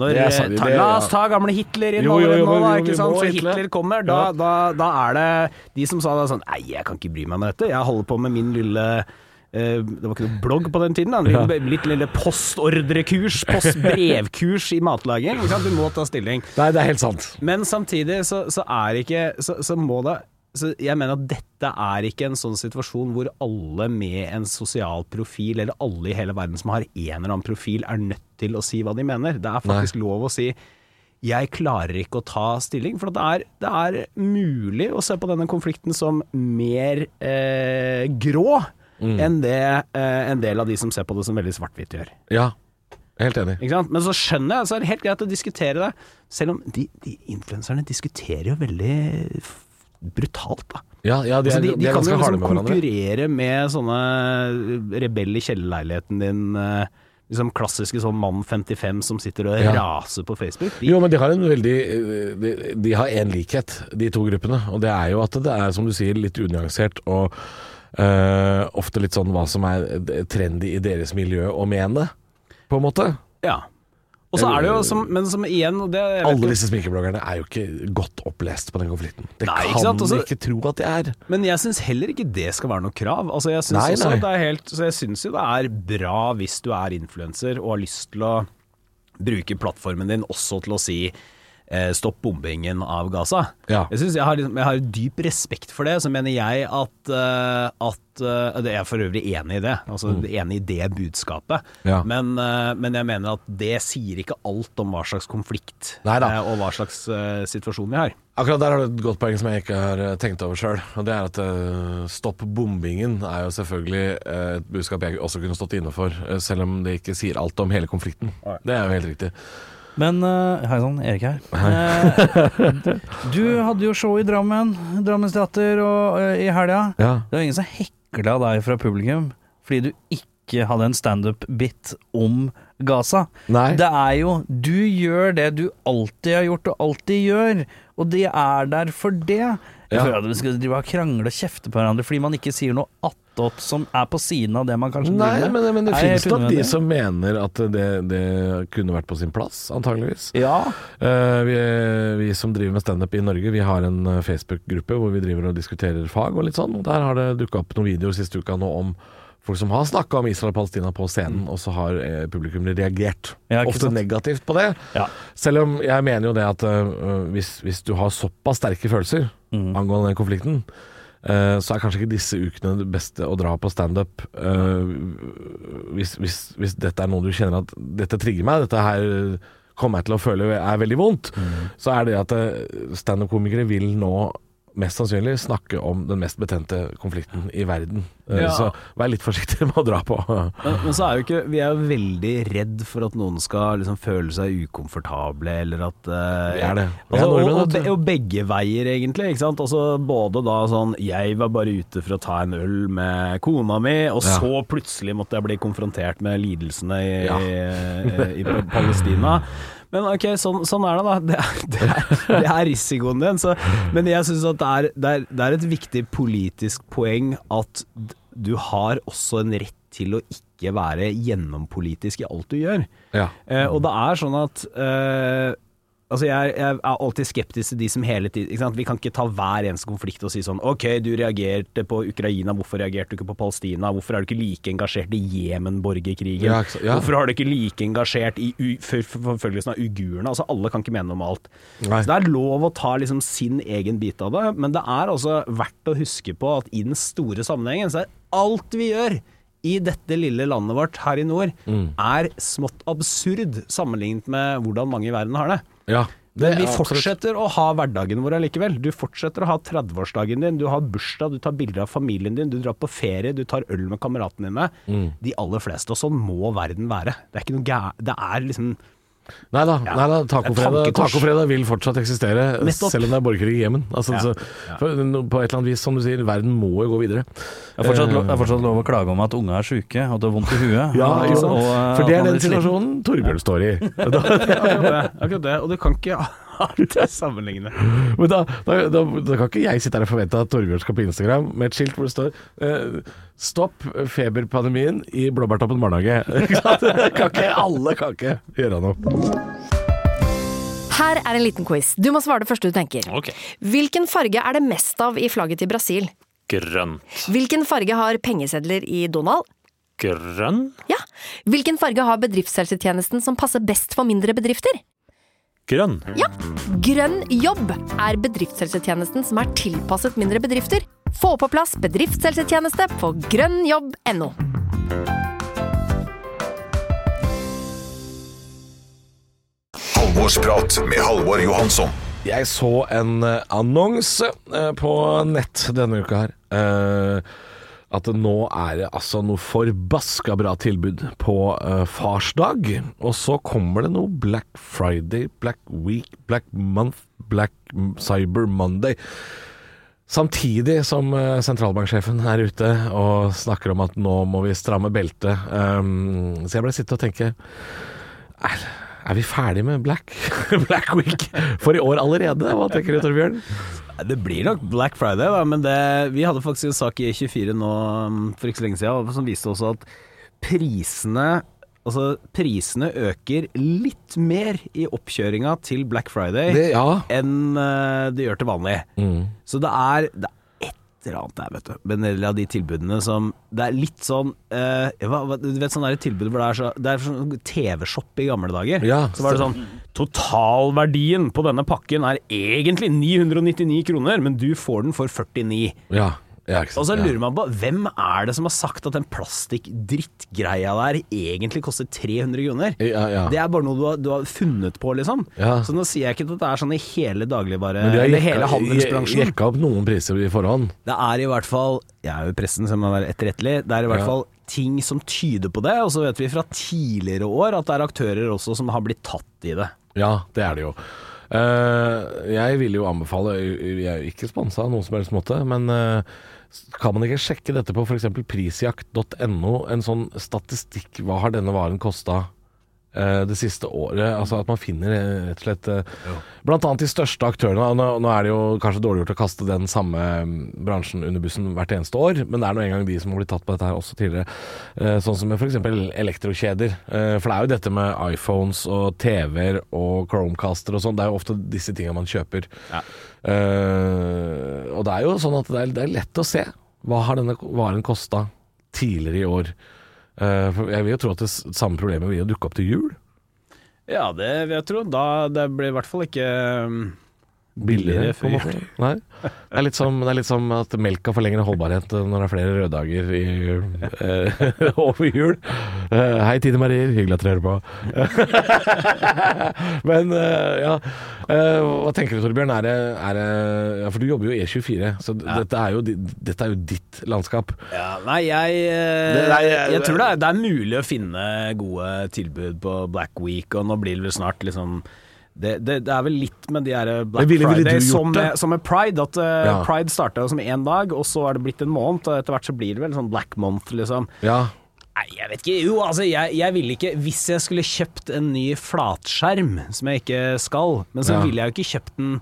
F: når,
B: Det er sant,
F: eh, ta,
B: det-
F: la
B: ja.
F: oss ta gamle Hitler inn
B: Jo, jo, jo,
F: allerede nå, da.
B: jo, vi
F: Ikke sant?
B: må
F: For
B: Hitler.
F: Hitler kommer, da,
B: Ja.
F: da, da er det de som sa det sånn Nei, jeg kan ikke bry meg med dette. Jeg holder på med min lille eh, det var ikke noe blogg på den tiden. Da. Min be- Litt lille postordrekurs, postbrevkurs i matlaging. Ikke sant? Du må ta stilling.
B: Nei, det er helt sant.
F: Men samtidig så, så er ikke så, så må det så Jeg mener at dette er ikke en sånn situasjon hvor alle med en sosial profil, eller alle i hele verden som har en eller annen profil, er nødt til å si hva de mener. Det er faktisk lov å si jeg klarer ikke å ta stilling, for det er, det er mulig å se på denne konflikten som mer eh, grå enn det eh, en del av de som ser på det som veldig svart-hvitt gjør.
B: Ja, helt enig.
F: Ikke sant? Men så skjønner jeg, så er det helt greit å diskutere det. Selv om de, de influenserne diskuterer jo veldig f- brutalt, da.
B: Ja, ja de, er,
F: Altså, de,
B: de,
F: de
B: er
F: kan jo
B: ganske harde med
F: liksom
B: hverandre.
F: konkurrere med sånne rebell i kjellerleiligheten din. eh, Liksom klassiske sånn mann 55 som sitter og
B: Ja.
F: raser på Facebook. De,
B: Jo, men de har en veldig De, de har én likhet, de to gruppene. Og det er jo at det er, som du sier, litt unyansert og eh, ofte litt eh, sånn hva som er trendy i deres miljø å mene, på en måte.
F: ja. Og så er det jo, som, men som igjen og det, jeg vet
B: Alle
F: ikke-
B: disse sminkebloggerne er jo ikke godt opplest på den konflikten. Det
F: Nei, ikke
B: kan
F: sant? Altså-
B: du
F: Også-
B: ikke tro at de er.
F: Men jeg syns heller ikke det skal være noe krav. Altså jeg
B: Nei,
F: synes også
B: nei.
F: at det er helt, så jeg syns jo det er bra hvis du er influenser og har lyst til å bruke plattformen din også til å si eh, stopp bombingen av Gaza.
B: Ja.
F: Jeg, synes jeg, har, liksom- jeg har dyp respekt for det. Så mener jeg at, eh, at eh, det- Jeg er for øvrig enig i det. Altså enig i det budskapet.
B: Mm. Ja.
F: Men, eh, men jeg mener at det sier ikke alt om hva slags konflikt
B: Neida.
F: eh, og hva slags eh, situasjon vi har.
B: Akkurat der har du et godt poeng som jeg ikke har eh, tenkt over sjøl. Og det er at eh, stopp bombingen er jo selvfølgelig eh, et budskap jeg også kunne stått inne for. eh, selv om det ikke sier alt om hele konflikten. Det er jo helt riktig.
D: Men eh, Hei sann, Erik her. Eh, du hadde jo show i Drammen, Drammens Teater, og, eh, i helga.
B: Ja.
D: Det var ingen som hekla deg fra publikum fordi du ikke hadde en standup-bit om Gaza.
B: Nei.
D: Det er jo Du gjør det du alltid har gjort og alltid gjør, og de er der for det. Jeg
B: Ja.
D: føler at vi skal drive og krangle og kjefte på hverandre fordi man ikke sier noe attåt som er på siden av det man kanskje
B: Nei,
D: driver med.
B: men, men det
D: Er jeg
B: fins
D: helt
B: nok de
D: unødvendig?
B: som mener at det, det kunne vært på sin plass, antageligvis.
D: Ja.
B: Eh, vi, vi som driver med standup i Norge, vi har en eh, Facebook-gruppe hvor vi driver og diskuterer fag og litt sånn. Og der har det dukka opp noen videoer siste uka nå om folk som har snakka om Israel og Palestina på scenen, og så har eh, publikum reagert.
D: Mm. Ja, ikke
B: Ofte
D: sant?
B: negativt på det.
D: Ja.
B: Selv om jeg mener jo det at eh, hvis, hvis du har såpass sterke følelser
D: Mm.
B: angående den konflikten, eh, så er kanskje ikke disse ukene det beste å dra på standup eh, hvis, hvis, hvis dette er noe du kjenner at dette trigger meg, dette her kommer jeg til å føle er veldig vondt,
F: Mm.
B: så er det at eh, standup-komikere vil nå mest sannsynlig snakke om den mest betente konflikten i verden. Eh,
F: Ja.
B: Så vær litt forsiktig med å dra
F: <laughs>
B: på.
F: Men, men så er jo ikke Vi er jo veldig redd for at noen skal liksom føle seg ukomfortable, eller at eh,
B: Vi er det. Vi er
F: altså, og,
B: nordmenn,
F: og,
B: vet
F: be,
B: du.
F: og begge veier, egentlig. Ikke sant? Altså, både da sånn Jeg var bare ute for å ta en øl med kona mi, og
B: Ja.
F: så plutselig måtte jeg bli konfrontert med lidelsene i,
B: Ja.
F: i, i Palestina. Men ok, sånn, sånn er det, da. Det er, det er, det er risikoen din. Så, men jeg syns at det er, det, er, det er et viktig politisk poeng at d- du har også en rett til å ikke være gjennompolitisk i alt du gjør.
B: Ja.
F: Eh, og det er sånn at eh, Altså jeg, jeg er alltid skeptisk til de som hele tiden ikke sant? Vi kan ikke ta hver eneste konflikt og si sånn OK, du reagerte på Ukraina, hvorfor reagerte du ikke på Palestina? Hvorfor er du ikke like engasjert i Jemen-borgerkrigen?
B: Ja, ikke sant, ja.
F: Hvorfor har du ikke like engasjert i u- for- for- forfølgelsen av uigurene? Altså alle kan ikke mene noe om alt.
B: Nei.
F: Så det er lov å ta liksom sin egen bit av det, men det er altså verdt å huske på at i den store sammenhengen så er alt vi gjør i dette lille landet vårt her i nord,
B: Mm.
F: er smått absurd sammenlignet med hvordan mange i verden har det.
B: Ja.
F: Men vi
B: er absolutt-
F: fortsetter å ha hverdagen vår allikevel. Du fortsetter å ha 30-årsdagen din, du har bursdag, du tar bilder av familien din, du drar på ferie, du tar øl med kameratene dine.
B: Mm.
F: De aller fleste, og sånn må verden være. Det er ikke noe gæ... Det er liksom
B: Nei da,
F: Ja.
B: nei da tacofredag,
F: Det er tankekors.
B: tacofredag vil fortsatt eksistere,
F: Nettopp.
B: selv om det er borgerkrig i Jemen. Altså,
F: Ja.
B: så- for, no- på et eller annet vis, som du sier, verden må jo gå videre.
D: Det er fortsatt, lo- det er fortsatt lov å klage om at unge er syke, at du har vondt i huet.
B: Eh. Ja,
D: og,
B: ikke sant?
D: og, eh,
B: For det
D: at
B: er
D: man
B: den
D: blir sliten.
B: situasjonen Torbjørn står i.
F: <laughs>
B: Da,
F: Akkurat det, akkurat det. Og du kan ikke ha det sammenlignende.
B: men da, da, da, da kan ikke jeg sitte her og forvente at Torbjørn skal på Instagram med et skilt hvor det står eh, 'Stopp feberpandemien i Blåbærtoppen barnehage'. <laughs> Ikke sant? kan ikke, alle kan ikke gjøre noe.
G: Her er en liten quiz. Du må svare det første du tenker.
E: Ok.
G: Hvilken farge er det mest av i flagget til Brasil?
E: Grønn.
G: Hvilken farge har pengesedler i Donald?
E: Grønn?
G: Ja. Hvilken farge har bedriftshelsetjenesten som passer best for mindre bedrifter?
E: Grønn.
G: Ja! Grønn jobb er bedriftshelsetjenesten som er tilpasset mindre bedrifter. Få på plass bedriftshelsetjeneste på grønnjobb.no.
C: Halvorsprat med Halvor Johansson.
B: Jeg så en eh, annonse eh, på nett denne uka her. eh, at nå er det altså noe forbaska bra tilbud på eh, farsdag. Og så kommer det noe Black Friday, Black Week, Black Month, Black M- Cyber Monday. Samtidig som eh, sentralbanksjefen er ute og snakker om at nå må vi stramme beltet. Eh, så jeg ble sittende og tenke er, er vi ferdig med Black, <laughs> Black Week for i år allerede? Hva tenker du, Torbjørn?
F: Det blir nok Black Friday, da, men det, vi hadde faktisk mm, en sak i 24 nå um, for ikke så lenge siden som viste også at prisene altså, prisene øker litt mer i oppkjøringa til Black Friday
B: Det, ja.
F: enn eh, de gjør til vanlig.
B: Mm.
F: Så det er, det er et eller annet der, vet du. Med en del av de tilbudene som Det er litt sånn eh, hva, hva, Du vet sånn der tilbud hvor det er, så, det er sånn TV-shop i gamle dager.
B: Ja,
F: så var det sånn Totalverdien på denne pakken er egentlig 999 kroner, men du får den for 49.
B: ja. ja ikke sant?
F: Og så lurer
B: ja.
F: man på hvem er det som har sagt at den plastikkdrittgreia der egentlig koster 300 kroner?
B: Ja, ja.
F: Det er bare noe du har, du har funnet på, liksom.
B: Ja.
F: Så nå sier jeg ikke at det er sånn i hele dagligvare...
B: Men de har
F: Eller
B: jekka-
F: eh, hele handelsbransjen.
B: Jekka opp noen priser i forhånd.
F: Det er i hvert fall Jeg er jo i pressen, så jeg må være etterrettelig. Det er i hvert
B: Ja.
F: fall ting som tyder på det, og så vet vi fra tidligere år at det er aktører også som har blitt tatt i det.
B: Ja, det er det jo. Eh, jeg vil jo anbefale Jeg er jo ikke sponsa av noen som helst måte, men eh, kan man ikke sjekke dette på f.eks. prisjakt.no? En sånn statistikk. Hva har denne varen kosta eh, det siste året? Altså at man finner eh, rett og slett eh, Blant annet de største aktørene. og Nå, nå er det jo kanskje dårlig gjort å kaste den samme mm, bransjen under bussen hvert eneste år, men det er nå engang de som har blitt tatt på dette her også tidligere. Eh, Sånn som med f.eks. elektrokjeder. Eh, For det er jo dette med iPhones og TV-er og Chromecaster og sånn, det er jo ofte disse tinga man kjøper. Eh, og det er jo sånn at det er, det er lett å se. Hva har denne varen kosta tidligere i år? Eh, for jeg vil jo tro at det s- samme problemet vil jo dukke opp til jul.
F: Ja, det vil jeg tro. Da, det blir i hvert fall ikke um,
B: Billigere,
F: Billigere
B: på en
F: før
B: måte. Nei. Det er litt som, det er litt som at melka får lengre holdbarhet eh, når det er flere røddager i, eh, <laughs> over jul. Eh, hei, Tine Marier. Hyggelig at dere hører på. <laughs> Men eh, ja Eh, Hva tenker du, Torbjørn? Er det, er det ja, For du jobber jo i E24, så d- dette, er jo, di- dette er jo ditt landskap.
F: Ja, nei, jeg eh,
B: Det- nei, jeg-
F: Jeg tror det er, det er mulig å finne gode tilbud på Black Week, og nå blir det vel snart liksom det, det, det er vel litt med de her Black
B: Men ville- ville
F: Friday
B: du gjort
F: som
B: det?
F: med, som med Pride. At eh,
B: Ja.
F: Pride starta som én dag, og så er det blitt en måned. Og etter hvert så blir det vel sånn Black Month, liksom.
B: Ja.
F: Nei, jeg vet ikke. Jo, altså, jeg, jeg ville ikke Hvis jeg skulle kjøpt en ny flatskjerm, som jeg ikke skal, men så
B: Ja.
F: ville jeg jo ikke kjøpt den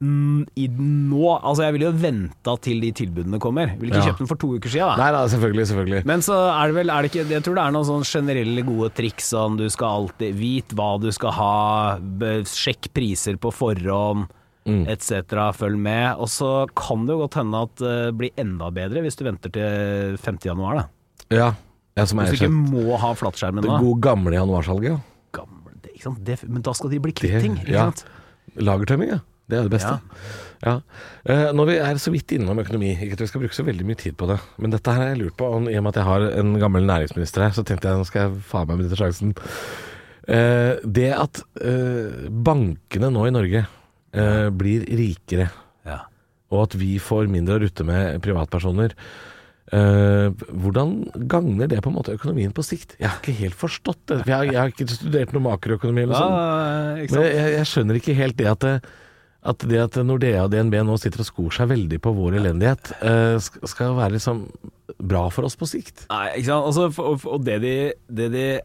F: mm, i nå. Altså, jeg ville jo venta til de tilbudene kommer. Ville ikke
B: Ja.
F: kjøpt den for to uker siden, da.
B: Nei da, selvfølgelig, selvfølgelig.
F: Men så er det vel er det ikke, Jeg tror det er noen sånn generelle gode triks sånn du skal alltid vite hva du skal ha, be- sjekk priser på forhånd, Mm. etc. Følg med. Og så kan det jo godt hende at det blir enda bedre hvis du venter til 5. januar, da.
B: Ja. Jeg som er
F: Hvis du ikke
B: sjef.
F: må ha flatskjermen
B: Det
F: nå.
B: gode gamle januarsalget. ja.
F: Gamle, det, ikke sant? Det, men da skal de bli kvitt
B: Det-
F: ting, ikke
B: ja.
F: sant?
B: Lagertømming, ja. Det er det beste. Ja. Eh, når vi er så vidt innom økonomi, ikke at vi skal bruke så veldig mye tid på det, men dette her har jeg lurt på, og i og med at jeg har en gammel næringsminister her, så tenkte jeg nå skal jeg faen meg benytte sjansen. Eh, det at eh, bankene nå i Norge eh, blir rikere,
F: Ja.
B: og at vi får mindre å rutte med privatpersoner, eh, hvordan gagner det på en måte økonomien på sikt? Jeg har ikke helt forstått det. for Jeg har, jeg har ikke studert noe makroøkonomi eller noe sånt.
F: ikke
B: Men
F: sant?
B: jeg, jeg skjønner ikke helt det at det, at det at Nordea og DNB nå sitter og skor seg veldig på vår elendighet, eh, sk- skal være liksom bra for oss på sikt.
F: Nei, ikke sant? Altså, for- og- og det de, det de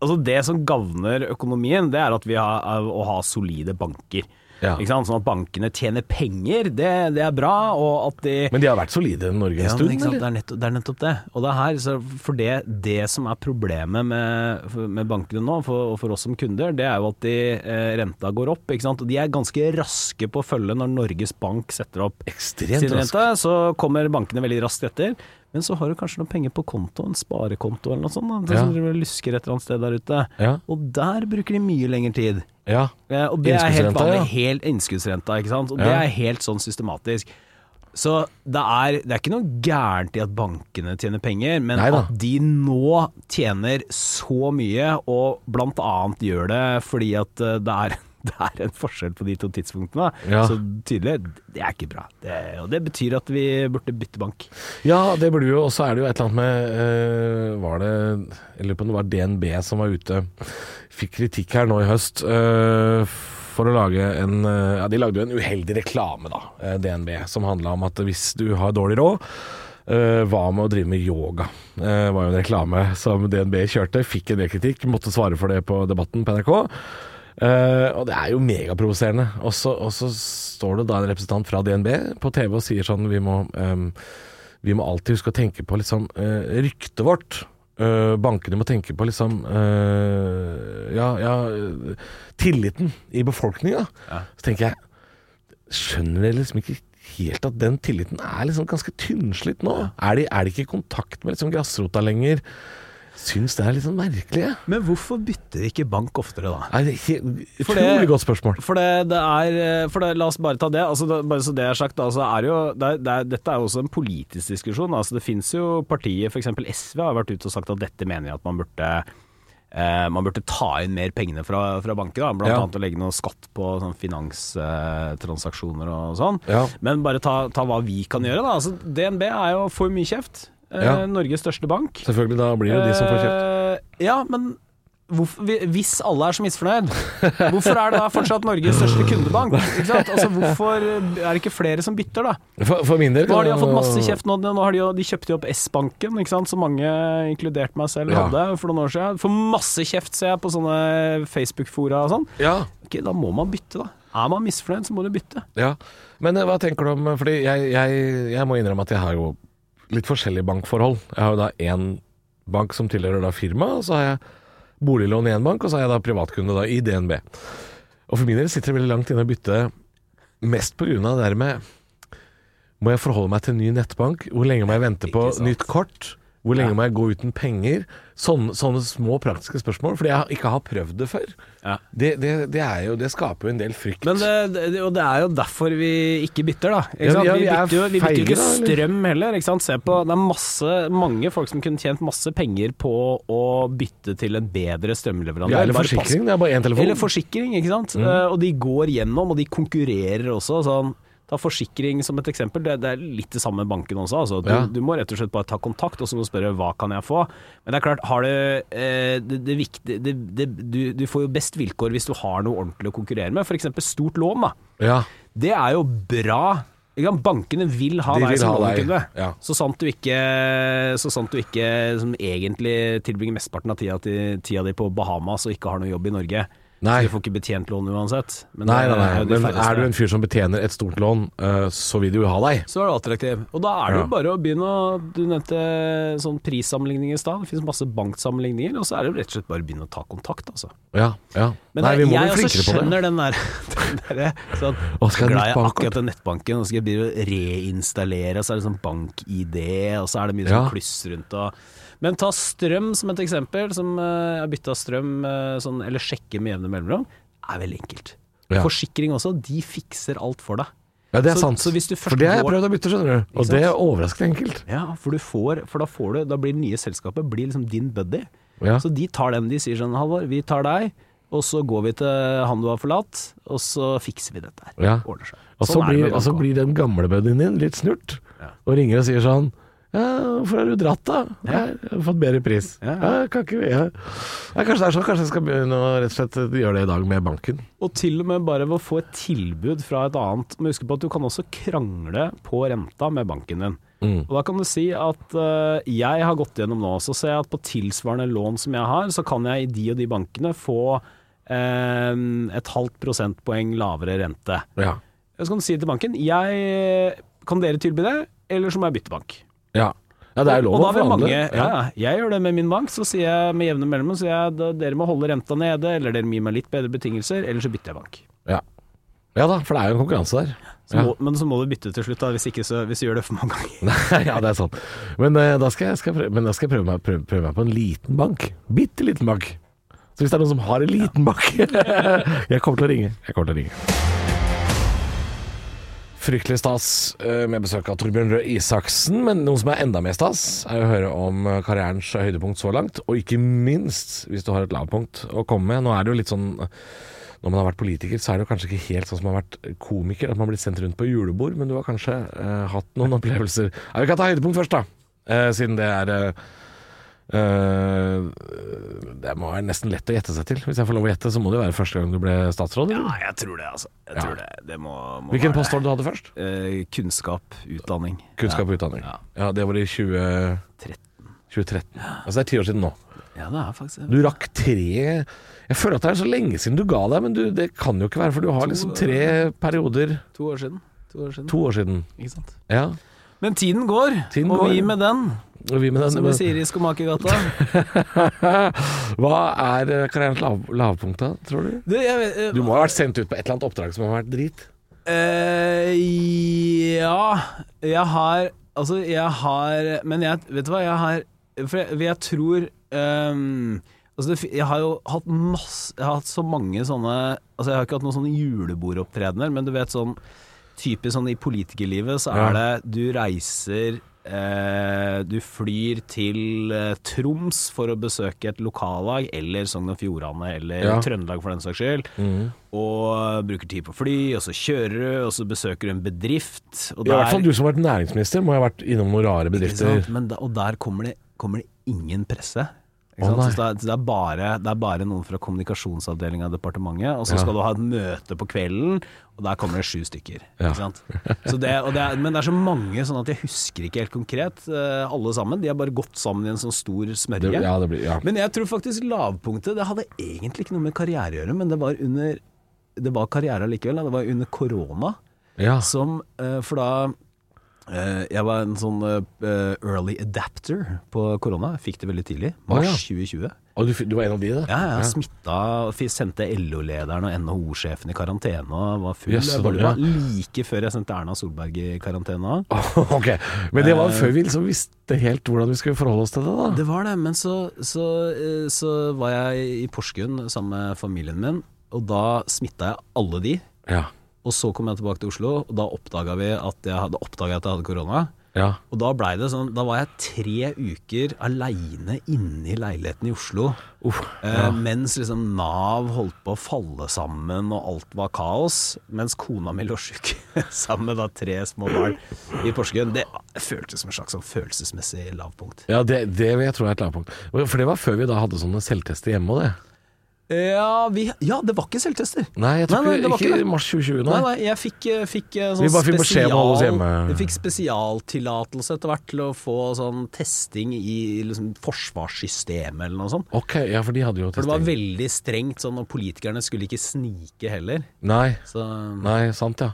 F: Altså det som gagner økonomien, det er at vi har er å ha solide banker.
B: Ja.
F: Ikke sant? Sånn at bankene tjener penger, det, det er bra, og at de
B: Men de har vært solide i Norge en
F: Ja,
B: stund,
F: men ikke sant?
B: eller?
F: Det er, nettopp, det er nettopp det. Og det er her, så for det, det som er problemet med, for- med bankene nå, for, og for oss som kunder, det er jo at de, eh, renta går opp. Ikke sant? Og de er ganske raske på å følge når Norges Bank setter opp
B: Ekstremt
F: sin
B: raskt.
F: rente. Så kommer bankene veldig raskt etter. Men så har du kanskje noen penger på konto, en sparekonto eller noe sånt, da,
B: Ja.
F: som driver og lusker et eller annet sted der ute.
B: Ja.
F: Og der bruker de mye lengre tid.
B: Ja.
F: Eh, Og det er
B: Innskuddsrenta,
F: helt vanlig.
B: ja.
F: Helt innskuddsrenta, ikke sant. Og det
B: Ja.
F: er helt sånn systematisk. Så det er, det er ikke noe gærent i at bankene tjener penger, men
B: Neida.
F: at de nå tjener så mye, og blant annet gjør det fordi at eh, det er, <laughs> det er en forskjell på de to tidspunktene.
B: Ja.
F: Så tydelig, det er ikke bra. Det, og det betyr at vi burde bytte bank.
B: ja, det burde jo. Og så er det jo et eller annet med eh, Var det Jeg lurer på om det var DNB som var ute Fikk kritikk her nå i høst eh, for å lage en eh, Ja, de lagde jo en uheldig reklame, da, eh, DNB, som handla om at hvis du har dårlig råd Eh, hva med å drive med yoga? Uh, var jo en reklame som DNB kjørte. Fikk en del kritikk, måtte svare for det på Debatten på NRK. Eh, og det er jo megaprovoserende. Og så og så står det da en representant fra DNB på TV og sier sånn Vi må, ehm, vi må alltid huske å tenke på liksom, eh, ryktet vårt. eh, bankene må tenke på liksom eh, Ja, ja eh, Tilliten i befolkninga. Så tenker jeg Skjønner dere liksom ikke helt at den tilliten er liksom ganske tynnslitt nå? Er, de, er de ikke i kontakt med liksom grasrota lenger? Syns det er litt sånn merkelig, jeg.
F: Men hvorfor bytter de ikke bank oftere, da?
B: Nei, det er ikke-
F: For det-
B: Utrolig godt spørsmål.
F: For det, det er eh, for det, La oss bare ta det. Altså, det bare så det er sagt, altså, er jo, det er, det er, dette er jo også en politisk diskusjon. Altså, det fins jo partiet, f.eks. SV har vært ute og sagt at dette mener jeg at man burde eh, man burde ta inn mer pengene fra, fra banker, da. blant
B: Ja.
F: annet å legge noe skatt på sånn, finanstransaksjoner og sånn.
B: Ja.
F: Men bare ta, ta hva vi kan gjøre. Da. Altså, DNB er jo for mye kjeft. Eh,
B: Ja.
F: Norges største bank.
B: Selvfølgelig, da blir det de som får kjeft.
F: Eh, Ja, men hvorfor, vi- hvis alle er så misfornøyd, hvorfor er det da fortsatt Norges største kundebank? Ikke sant? Altså, hvorfor er det ikke flere som bytter, da?
B: For, for min del
F: Eh, Nå har de jo fått masse kjeft nå, nå har de, jo, de kjøpte jo opp S-banken, ikke sant? som mange, inkludert meg selv,
B: Ja.
F: hadde for noen år siden. Får masse kjeft, ser jeg, på sånne Facebook-fora og sånn.
B: Ja,
F: Ok, da må man bytte, da. Er man misfornøyd, så må du bytte.
B: ja. Men eh, hva tenker du om Fordi jeg, jeg, jeg må innrømme at jeg har jo litt forskjellige bankforhold. Jeg har jo da én bank som tilhører da firmaet, og så har jeg boliglån i én bank, og så er jeg da privatkunde da i DNB. Og for min del sitter det veldig langt inne å bytte, mest på grunn av det der med Må jeg forholde meg til ny nettbank? Hvor lenge må jeg vente på nytt kort? Hvor lenge må jeg gå uten penger? Sånne, sånne små praktiske spørsmål, fordi jeg ikke har prøvd det før.
F: Ja.
B: Det, det, det, er jo, det skaper jo en del frykt.
F: Men eh, det, det, og det er jo derfor vi ikke bytter, da. Ikke
B: Ja,
F: sant?
B: ja,
F: vi,
B: vi er
F: bytter jo, vi bytter jo
B: feige, da,
F: ikke
B: eller?
F: strøm heller. Ikke sant? Se på, det er masse, mange folk som kunne tjent masse penger på å bytte til en bedre strømleverandør.
B: Ja, eller
F: Bare pass-
B: forsikring. Det er bare én telefon. Mm.
F: Eller forsikring, ikke sant. Eh, Og de går gjennom, og de konkurrerer også. Sånn. Ta forsikring som et eksempel. Det, det er litt det samme med banken også. Altså. Du,
B: Ja.
F: du må rett og slett bare ta kontakt, og så må du spørre hva kan jeg få. Men det er klart, har du eh, det, det viktig, det, det, du, du får jo best vilkår hvis du har noe ordentlig å konkurrere med. F.eks. stort lån. da
B: ja.
F: det er jo bra. Ikke sant? Bankene vil ha
B: De
F: deg
B: vil
F: som
B: ha deg,
F: lånekunde.
B: ja.
F: Så sant du ikke, så sant du ikke som egentlig tilbringer mesteparten av tida, ti- tida di på Bahamas og ikke har noe jobb i Norge.
B: Nei.
F: Så du får ikke betjent lån uansett. Men
B: Nei,
F: det
B: nei, nei.
F: jo de
B: Men
F: færreste.
B: er du en fyr som betjener et stort lån, eh, så vil de jo ha deg.
F: så er du attraktiv. Og da er det jo
B: Ja.
F: bare å begynne å Du nevnte sånn prissammenligning i stad. Det finnes masse banksammenligninger, og så er det jo rett og slett bare å begynne å ta kontakt, altså.
B: Ja, ja.
F: Men
B: nei, vi må bli
F: jeg også
B: flinkere på det.
F: skjønner den der, <laughs> den der sånn,
B: Å, skal jeg ha nytt
F: glad jeg
B: bankkort?
F: akkurat den nettbanken, og så skal jeg begynne å reinstallere, og så er det sånn bank-ID, og så er det mye
B: Ja.
F: sånn kluss rundt og Men ta strøm som et eksempel, som eh, jeg har bytta strøm, eh, sånn, eller sjekke med jevne mellomrom, er veldig enkelt.
B: Ja.
F: Forsikring også, de fikser alt for deg.
B: Ja, det er
F: Så-
B: sant.
F: så hvis du først
B: For det har jeg
F: går-
B: prøvd å bytte, skjønner du. Og
F: sant?
B: det er overraskende enkelt.
F: Ja, for, du får, for da, får du, da blir det nye selskapet blir liksom din buddy.
B: Ja.
F: Så de tar den. De sier sånn Halvor, vi tar deg, og så går vi til han du har forlatt, og så fikser vi dette her.
B: Ja.
F: Ordner seg.
B: Og så
F: Sånn er det
B: blir,
F: med
B: og så
F: bank også.
B: blir den gamle buddyen din litt snurt,
F: Ja.
B: og ringer og sier sånn ja, 'Hvorfor har du dratt, da?' Nei, 'Jeg har fått bedre pris.'
F: Ja, ja.
B: Ja, kan ikke, ja. Nei, kanskje det er sånn. Kanskje jeg skal begynne å rett og slett eh, gjøre det i dag med banken.
F: Og til og med bare ved å få et tilbud fra et annet Men husk på at du kan også krangle på renta med banken din.
B: Mm.
F: Og da kan du si at eh, jeg har gått gjennom nå, så ser jeg at på tilsvarende lån som jeg har, så kan jeg i de og de bankene få eh, et halvt prosentpoeng lavere rente.
B: Ja.
F: Så kan du si til banken jeg, Kan dere tilby det, eller så må jeg bytte bank.
B: Ja, ja det er jo lov
F: og da
B: å
F: vil mange,
B: forhandle.
F: ja, ja, jeg gjør det med min bank, så sier jeg med jevne mellomrom så sier jeg, da- dere må holde renta nede, eller dere må gi meg litt bedre betingelser, eller så bytter jeg bank.
B: Ja. ja da, for det er jo en konkurranse der.
F: Så må, men så må du bytte til slutt, da, hvis ikke så hvis du gjør det for mange ganger.
B: <laughs> Nei, ja, det er sant. Men eh, da skal jeg, skal jeg prøve, men da skal jeg prøve, meg, prøve, prøve meg på en liten bank. Bitte liten bank. Så hvis det er noen som har en liten bank <laughs> Jeg kommer til å ringe. Jeg kommer til å ringe. Fryktelig stas eh, med besøk av Torbjørn Røe Isaksen, men noe som er enda mer stas, er å høre om eh, karrierens høydepunkt så langt, og ikke minst hvis du har et lavpunkt å komme med. Nå er det jo litt sånn når man har vært politiker, så er det jo kanskje ikke helt sånn som man har vært komiker, at man blir sendt rundt på julebord, men du har kanskje eh, hatt noen <laughs> opplevelser. Ja, vi kan ta høydepunkt først, da, eh, siden det er eh, eh, Det må være nesten lett å gjette seg til. Hvis jeg får lov å gjette, så må det jo være første gang du ble statsråd. eller?
F: jeg tror det, altså. Jeg
B: tror
F: det. Det må, Eh,
B: Hvilken post var det du hadde først?
F: kunnskap, utdanning.
B: Kunnskap og utdanning. Ja.
F: Ja.
B: Det var i 20... 2013. Altså det er ti år siden nå.
F: Ja, det er faktisk
B: Du rakk tre Jeg føler at det er så lenge siden du ga deg, men du, det kan jo ikke være, for du har liksom tre perioder
F: To år siden. To år siden.
B: To år siden.
F: Ikke sant.
B: Ja.
F: Men tiden går,
B: Tiden
F: og
B: går.
F: vi med den.
B: Og vi med den,
F: som de sier i Skomakergata.
B: <laughs> Hva er eh, karrierens lav, lavpunktet, tror <laughs> du?
F: Du, jeg vet eh,
B: Du må ha vært sendt ut på et eller annet oppdrag som har vært drit.
F: eh, Ja, jeg har Altså, jeg har Men jeg, vet du hva, jeg har For jeg, jeg tror ehm, Altså, det, fi- jeg har jo hatt masse Jeg har hatt så mange sånne Altså, jeg har ikke hatt noen sånne julebordopptredener, men du vet sånn Typisk sånn i politikerlivet så er det Du reiser eh, Du flyr til eh, Troms for å besøke et lokallag, eller Sogn og Fjordane, eller
B: Ja.
F: Trøndelag for den saks skyld, og bruker tid på fly, og så kjører du, og så besøker du en bedrift, og
B: I hvert fall
F: der
B: du som har vært næringsminister, må ha vært innom noen rare
F: ikke sant?
B: bedrifter.
F: Men da, og der kommer det, kommer det ingen presse.
B: Å,
F: Ikke sant?
B: nei.
F: så det, er, så det, er bare, det er bare noen fra kommunikasjonsavdelinga i departementet, og så
B: Ja.
F: skal du ha et møte på kvelden, og der kommer det sju stykker.
B: Ja.
F: Ikke sant? Så det, og det er, men det er så mange sånn at jeg husker ikke helt konkret eh, alle sammen. De har bare gått sammen i en sånn stor smørje.
B: Det, ja, det blir, ja.
F: Men jeg tror faktisk lavpunktet Det hadde egentlig ikke noe med karriere å gjøre, men det var under Det var karriere likevel. Det var under korona.
B: ja.
F: Som, eh, for da eh, Jeg var en sånn eh, early adapter på korona. Jeg Fikk det veldig tidlig. Mars 2020.
B: Og du, f- du var en av de, da?
F: Ja, jeg smitta og f- sendte LO-lederen og NHO-sjefen i karantene og var full.
B: Jøss,
F: Jeg bare- det var
B: ja.
F: like før jeg sendte Erna Solberg i karantene.
B: <laughs> ok, Men det
F: Eh.
B: var før vi liksom visste helt hvordan vi skulle forholde oss til det, da.
F: Det var det, men så, så, eh, så var jeg i Porsgrunn sammen med familien min, og da smitta jeg alle de.
B: Ja.
F: Og så kom jeg tilbake til Oslo, og da oppdaga vi at jeg hadde, oppdaget at jeg hadde korona.
B: ja.
F: Og da blei det sånn Da var jeg tre uker aleine inne i leiligheten i Oslo. eh, mens liksom Nav holdt på å falle sammen og alt var kaos. Mens kona mi lå sjuk <laughs> sammen med da tre små barn i Porsgrunn. Det føltes som en slags sånn følelsesmessig lavpunkt.
B: ja det, det jeg tror jeg er et lavpunkt. For det var før vi da hadde sånne selvtester hjemme og det.
F: Ja, vi, ja det var ikke selvtester.
B: Nei, jeg tror
F: Nei, nei, det
B: ikke,
F: var ikke det.
B: mars 2020, nei.
F: Nei, nei, jeg fikk, eh, fikk eh, sånn
B: Vi bare fikk beskjed om å holde oss hjemme.
F: Jeg fikk spesialtillatelse etter hvert til å få sånn testing i liksom, forsvarssystemet eller noe sånt.
B: Ok, ja, for de hadde jo
F: For det var
B: testing.
F: veldig strengt sånn, og politikerne skulle ikke snike heller.
B: Nei,
F: Så du
B: nei, sant, ja.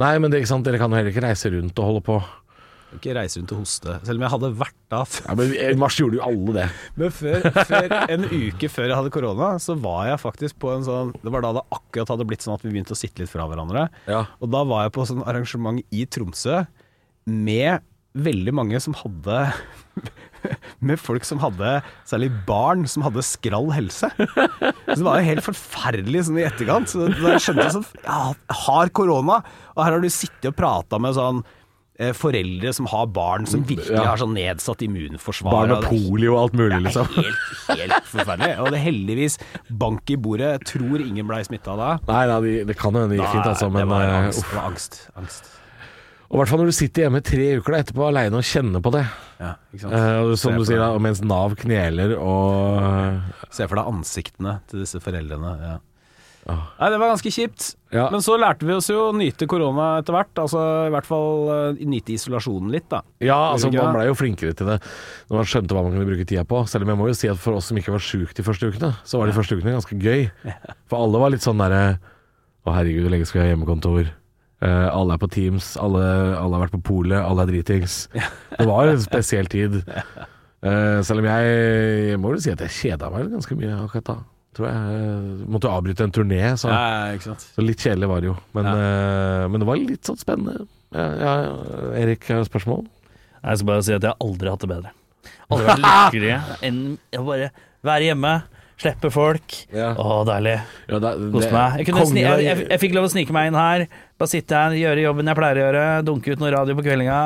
B: Nei, men det er ikke sant, dere kan jo heller ikke reise rundt og holde på.
F: kan ikke reise rundt og hoste. Selv om jeg hadde vært da før.
B: Ja, men I mars gjorde jo alle det.
F: Men før, før, en uke før jeg hadde korona, så var jeg faktisk på en sånn Det var da det akkurat hadde blitt sånn at vi begynte å sitte litt fra hverandre.
B: Ja.
F: Og da var jeg på sånn arrangement i Tromsø med veldig mange som hadde <laughs> Med folk som hadde, særlig barn, som hadde skrall helse. Så det var jo helt forferdelig sånn i etterkant. Så da jeg skjønte sånn ja, Har korona, og her har du sittet og prata med sånn eh, Foreldre som har barn som virkelig
B: Mm, Ja.
F: har sånn nedsatt immunforsvar.
B: Barn med
F: og det er
B: polio og alt mulig, liksom.
F: det er helt, helt forferdelig. Og det er heldigvis bank i bordet. Jeg tror ingen blei smitta da.
B: Nei, nei, de, det kan jo hende det gikk fint, altså, men
F: det var
B: eh,
F: angst.
B: uff.
F: Det var angst, angst.
B: Og i hvert fall når du sitter hjemme tre uker da, etterpå alene og kjenner på det.
F: Ja, ikke sant?
B: Eh, og som
F: Se
B: du
F: på
B: sier,
F: det.
B: da, og mens Nav kneler og
F: Se for deg ansiktene til disse foreldrene. Ja. Nei, det var ganske kjipt.
B: Ja.
F: Men så lærte vi oss jo å nyte korona etter hvert. Altså i hvert fall eh, nyte isolasjonen litt, da.
B: Ja, altså
F: Gjorde ikke
B: man
F: det?
B: blei jo flinkere til det når man skjønte hva man kunne bruke tida på. Selv om jeg må jo si at for oss som ikke var sjuke de første ukene, så var de første ukene ganske
F: <laughs>
B: gøy. For alle var litt sånn derre Å herregud, hvor lenge skal jeg ha hjemmekontor? Eh, alle er på Teams, alle, alle har vært på polet, alle er dritings. Det var en spesiell tid.
F: <laughs>
B: Eh, selv om jeg, jeg må vel si at jeg kjeda meg ganske mye akkurat da. Tror jeg. Eh, måtte jo avbryte en turné, så
F: Ja, ikke sant.
B: Så litt kjedelig var det jo, men, eh, men det var litt sånn spennende. Ja, ja, Erik, har du spørsmål?
E: Jeg skal bare si at jeg har aldri hatt det bedre. Aldri
B: <laughs>
E: vært lykkeligere enn å bare være hjemme, slippe folk.
B: Ja.
E: Å, deilig.
B: Ja, det, det,
E: Kose meg. Jeg, kunne
B: kongen
E: sni, jeg,
B: er-
E: jeg, jeg fikk lov å snike meg inn her. Bare sitte her, gjøre jobben jeg pleier å gjøre. Dunke ut noe radio på kveldinga.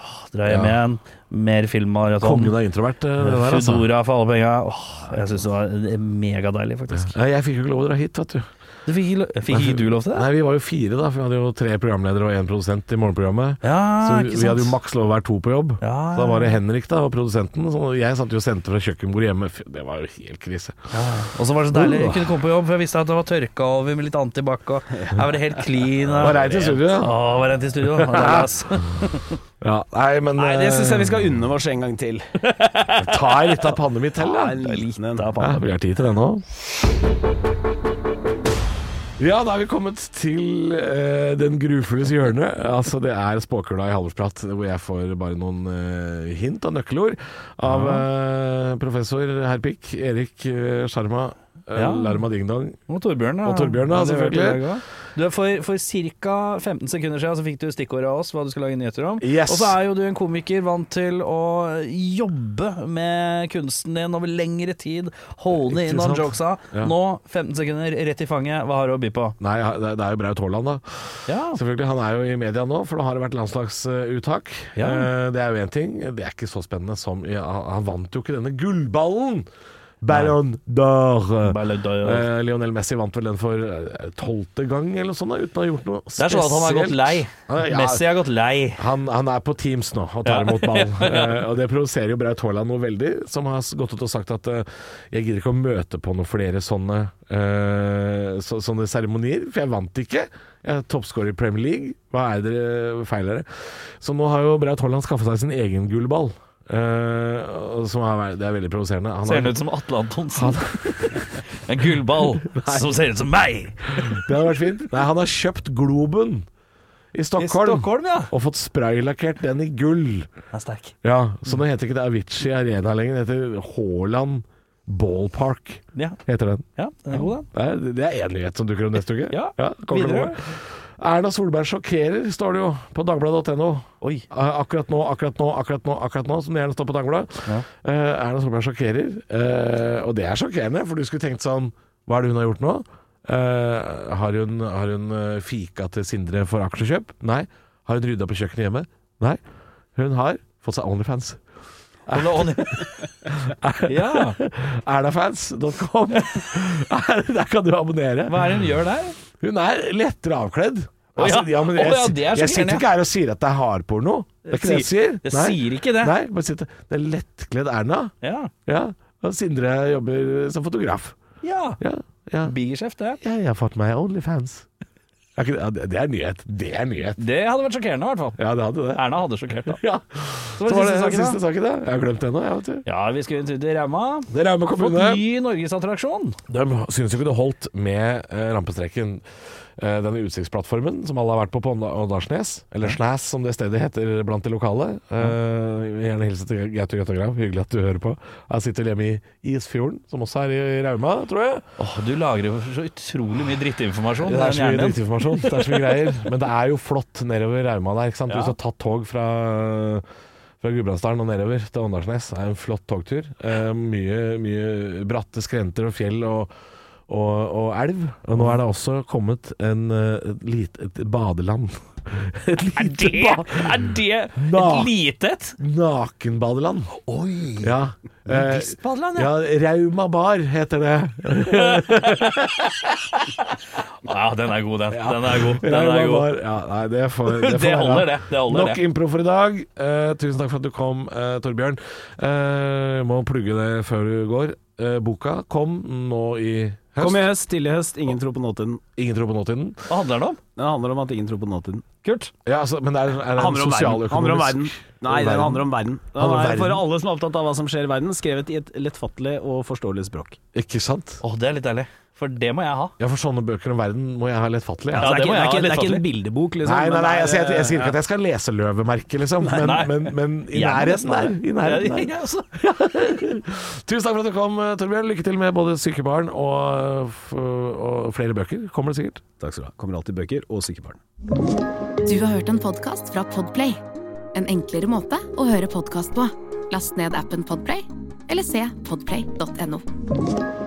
E: Åh, Dra hjem
B: Ja.
E: igjen. Mer filmmaraton.
B: kongen er introvert, eh, det der, altså.
E: Foodora for alle penga. Åh, Jeg syns det var megadeilig, faktisk.
B: Nei, jeg fikk jo ikke lov å dra hit, vet du.
E: Du fikk, ikke lo- fikk ikke du lov til det?
B: Nei, vi var jo fire, da, for vi hadde jo tre programledere og én produsent i morgenprogrammet.
E: Ja,
B: Så vi,
E: Ah, ikke
B: vi hadde jo
E: sant.
B: maks lov å være to på jobb.
E: Ja,
B: Så da var det Henrik da, og produsenten. Så jeg satt jo og sendte fra kjøkkenbordet hjemme. Fy, Det var jo helt krise.
E: Og så var det så deilig.
B: Uh.
E: Jeg kunne komme på jobb, for jeg visste at det var tørka over med litt antibac. Og her var det helt clean.
B: Var reint i studio, ja.
E: Å, var rent i studio. Det var ass.
B: ja. Nei, men
F: Nei, det syns jeg
B: eh,
F: vi skal unne oss en gang til.
B: ta ei lita panne mi til,
F: Ja,
B: da.
F: en liten en.
B: Ja, vi har tid til det nå. Ja, da er vi kommet til eh, den grufules hjørne. Altså, det er spåkula i Halvorsprat, hvor jeg får bare noen eh, hint og nøkkelord av eh, professor Herpik, Erik eh, Sharma, eh,
D: Ja.
B: Larma Ding Dong.
D: Og Torbjørn,
B: Og Torbjørn, da, selvfølgelig.
D: Du, for for ca. 15 sekunder siden så fikk du stikkordet av oss hva du skal lage nyheter om.
B: Yes.
D: Og så er jo du en komiker vant til å jobbe med kunsten din over lengre tid. Holde
B: Ikke
D: inn noen
B: sant?
D: jokesa.
B: Ja.
D: Nå, 15 sekunder, rett i fanget. Hva har du å by på?
B: Nei, det det er jo Braut Haaland, da.
D: Ja.
B: Selvfølgelig, Han er jo i media nå, for nå har det vært landslagsuttak.
D: Ja.
B: Eh, Det er jo én ting. Det er ikke så spennende som ja, Han vant jo ikke denne gullballen! Ballon d'Or. Eh, Lionel Messi vant vel den for eh, tolvte gang, eller noe sånt, da, uten å ha gjort noe
D: Det er sånn at han har gått lei.
B: Ja, ja.
D: Messi har gått lei.
B: Han, han er på Teams nå og tar imot <laughs> ballen. Eh, og Det provoserer jo Braut Haaland noe veldig, som har s- gått ut og sagt at eh, jeg gidder ikke å møte på noen flere sånne, eh, så, sånne seremonier, for jeg vant ikke. Jeg er toppscorer i Premier League. Hva er det dere feil dere? Så nå har jo Braut Haaland skaffa seg sin egen gullball. eh, og som er, det er veldig provoserende. Han
D: Ser
B: har-
D: han ut som Atle Antonsen? En gullball
B: <laughs>
D: som ser ut som meg!
B: Det hadde vært fint. Nei, han har kjøpt Globen i Stockholm.
D: ja.
B: Og fått spraylakkert den i gull.
D: Han er sterk.
B: Ja, Så nå heter ikke det Avicii Arena lenger. Det heter Haaland Ballpark.
D: Ja,
B: Heter den.
D: ja den er god, den.
B: Det er- Det er én nyhet som dukker opp neste uke.
D: Ja,
B: kommer det
D: videre.
B: noe. Erna Solberg sjokkerer, står det jo på dagbladet.no.
D: Oi.
B: Eh, Akkurat nå, akkurat nå, akkurat nå, akkurat nå, som det gjerne står på Dagbladet. Eh, Erna Solberg sjokkerer, eh, og det er sjokkerende, for du skulle tenkt sånn Hva er det hun har gjort nå? Eh, har hun, har hun eh, fika til Sindre for aksjekjøp? Nei. Har hun rydda på kjøkkenet hjemme? Nei. Hun har fått seg Onlyfans.
D: Hold
B: <laughs>
D: on. Ja,
B: <laughs> Ernafans.com. Der kan du abonnere.
D: hva er det hun gjør der?
B: Hun er lettere avkledd. Altså,
D: Å ja.
B: men
D: Å ja, det er
B: jeg, jeg
D: sjokkerende.
B: sitter ikke her og sier at det er hardporno. Det er ikke det jeg sier.
D: Jeg
B: Nei.
D: sier ikke det.
B: Nei, bare sitte. Det er lettkledd Erna.
D: Ja.
B: Ja. Og Sindre jobber som fotograf.
D: ja.
B: Ja. ja.
D: Bigeskjeft, det.
B: Jeg har fått meg Onlyfans. Er ikke det- ja, Det det er nyhet. Det er nyhet.
D: Det hadde vært sjokkerende, i hvert fall.
B: Ja, det hadde det.
D: Erna hadde sjokkert, da.
B: Ja.
D: Så
B: Så
D: var
B: var
D: det
B: det
D: siste saken,
B: siste
D: da.
B: saken, da. Jeg har glemt det nå, jeg, vet du.
D: Ja, vi skulle en tur til Rauma.
B: Det er Rauma
D: Fått
B: kommune.
D: ny norgesattraksjon.
B: De syns jo ikke det holdt med eh, rampestreken. Eh, denne utsiktsplattformen som alle har vært på på Ånda- Åndalsnes, eller Snæs som det stedet heter blant de lokale. Eh, gjerne hilse til Gaute Grøttagrav, hyggelig at du hører på. Jeg sitter hjemme i Isfjorden, som også er i i Rauma, tror jeg.
D: Åh, du lagrer jo så utrolig mye drittinformasjon.
B: Det er så mye
D: hjernen din.
B: drittinformasjon, det er så mye greier.
D: <laughs>
B: Men det er jo flott nedover Rauma der, ikke sant.
D: Ja.
B: Hvis du har tatt tog fra fra Gudbrandsdalen og nedover til Åndalsnes. Det er en flott togtur. Eh, mye, mye bratte skrenter og fjell og, og, og elv. Og nå er det også kommet en, eh, et, lite, et badeland. <laughs> Et
D: Er
B: lite
D: det,
B: ba
D: er det
B: Da.
D: et lite et?
B: nakenbadeland. Oi! Ja. Eh,
D: Nudistbadeland, ja.
B: ja, Rauma bar heter det.
D: Ja, den er god, den. Den er god. Den
B: Rauma
D: er god.
B: bar. Ja, nei, det, får, det,
D: <laughs>
B: får
D: Det
B: være.
D: holder, det. det, holder
B: Nok
D: det.
B: impro for i dag. Eh, tusen takk for at du kom, eh, Torbjørn. Eh, må plugge det før du går. Eh, boka kom nå i høst.
F: Kom i høst, tidlig høst, ingen tror på nåtiden.
B: Ingen tror på nåtiden.
D: Hva handler det om?
F: Den handler om at ingen tror på nåtiden. Kult.
B: Ja, altså, men det er, er det en
F: Handler om verden.
B: sosialøkonomisk
F: Handler om verden.
B: Om
F: Nei, den
B: verden.
F: handler om verden. Den
B: Handler om
F: er for
B: verden.
F: alle som er opptatt av hva som skjer i verden, skrevet i et lettfattelig og forståelig språk.
B: Ikke sant?
D: Åh, det er litt deilig. For det må jeg ha.
B: Ja, for sånne bøker om verden må jeg ha lettfattelig.
D: Ja,
B: Ja.
F: det, er
D: det må
F: ikke,
D: jeg ha,
F: det, er ikke, det er ikke en
D: lettfattelig.
F: bildebok,
B: altså.
F: liksom.
B: Nei, nei,
F: men
B: nei,
F: det er-
B: altså, jeg, jeg sier ikke at jeg skal lese løvemerket, liksom, men,
D: nei.
B: men, men i
D: Jeg må
B: nærheten der.
D: nesten
B: I nærheten der.
D: <laughs> Ja, altså.
B: Tusen takk for at du kom, eh, Torbjørn. Lykke til med både syke barn og, f- og flere bøker. Kommer det sikkert.
F: Takk skal du ha. Kommer alltid bøker og sykebarn.
A: Du har hørt en podkast fra Podplay. En enklere måte å høre podkast på. Last ned appen Podplay, eller se podplay.no.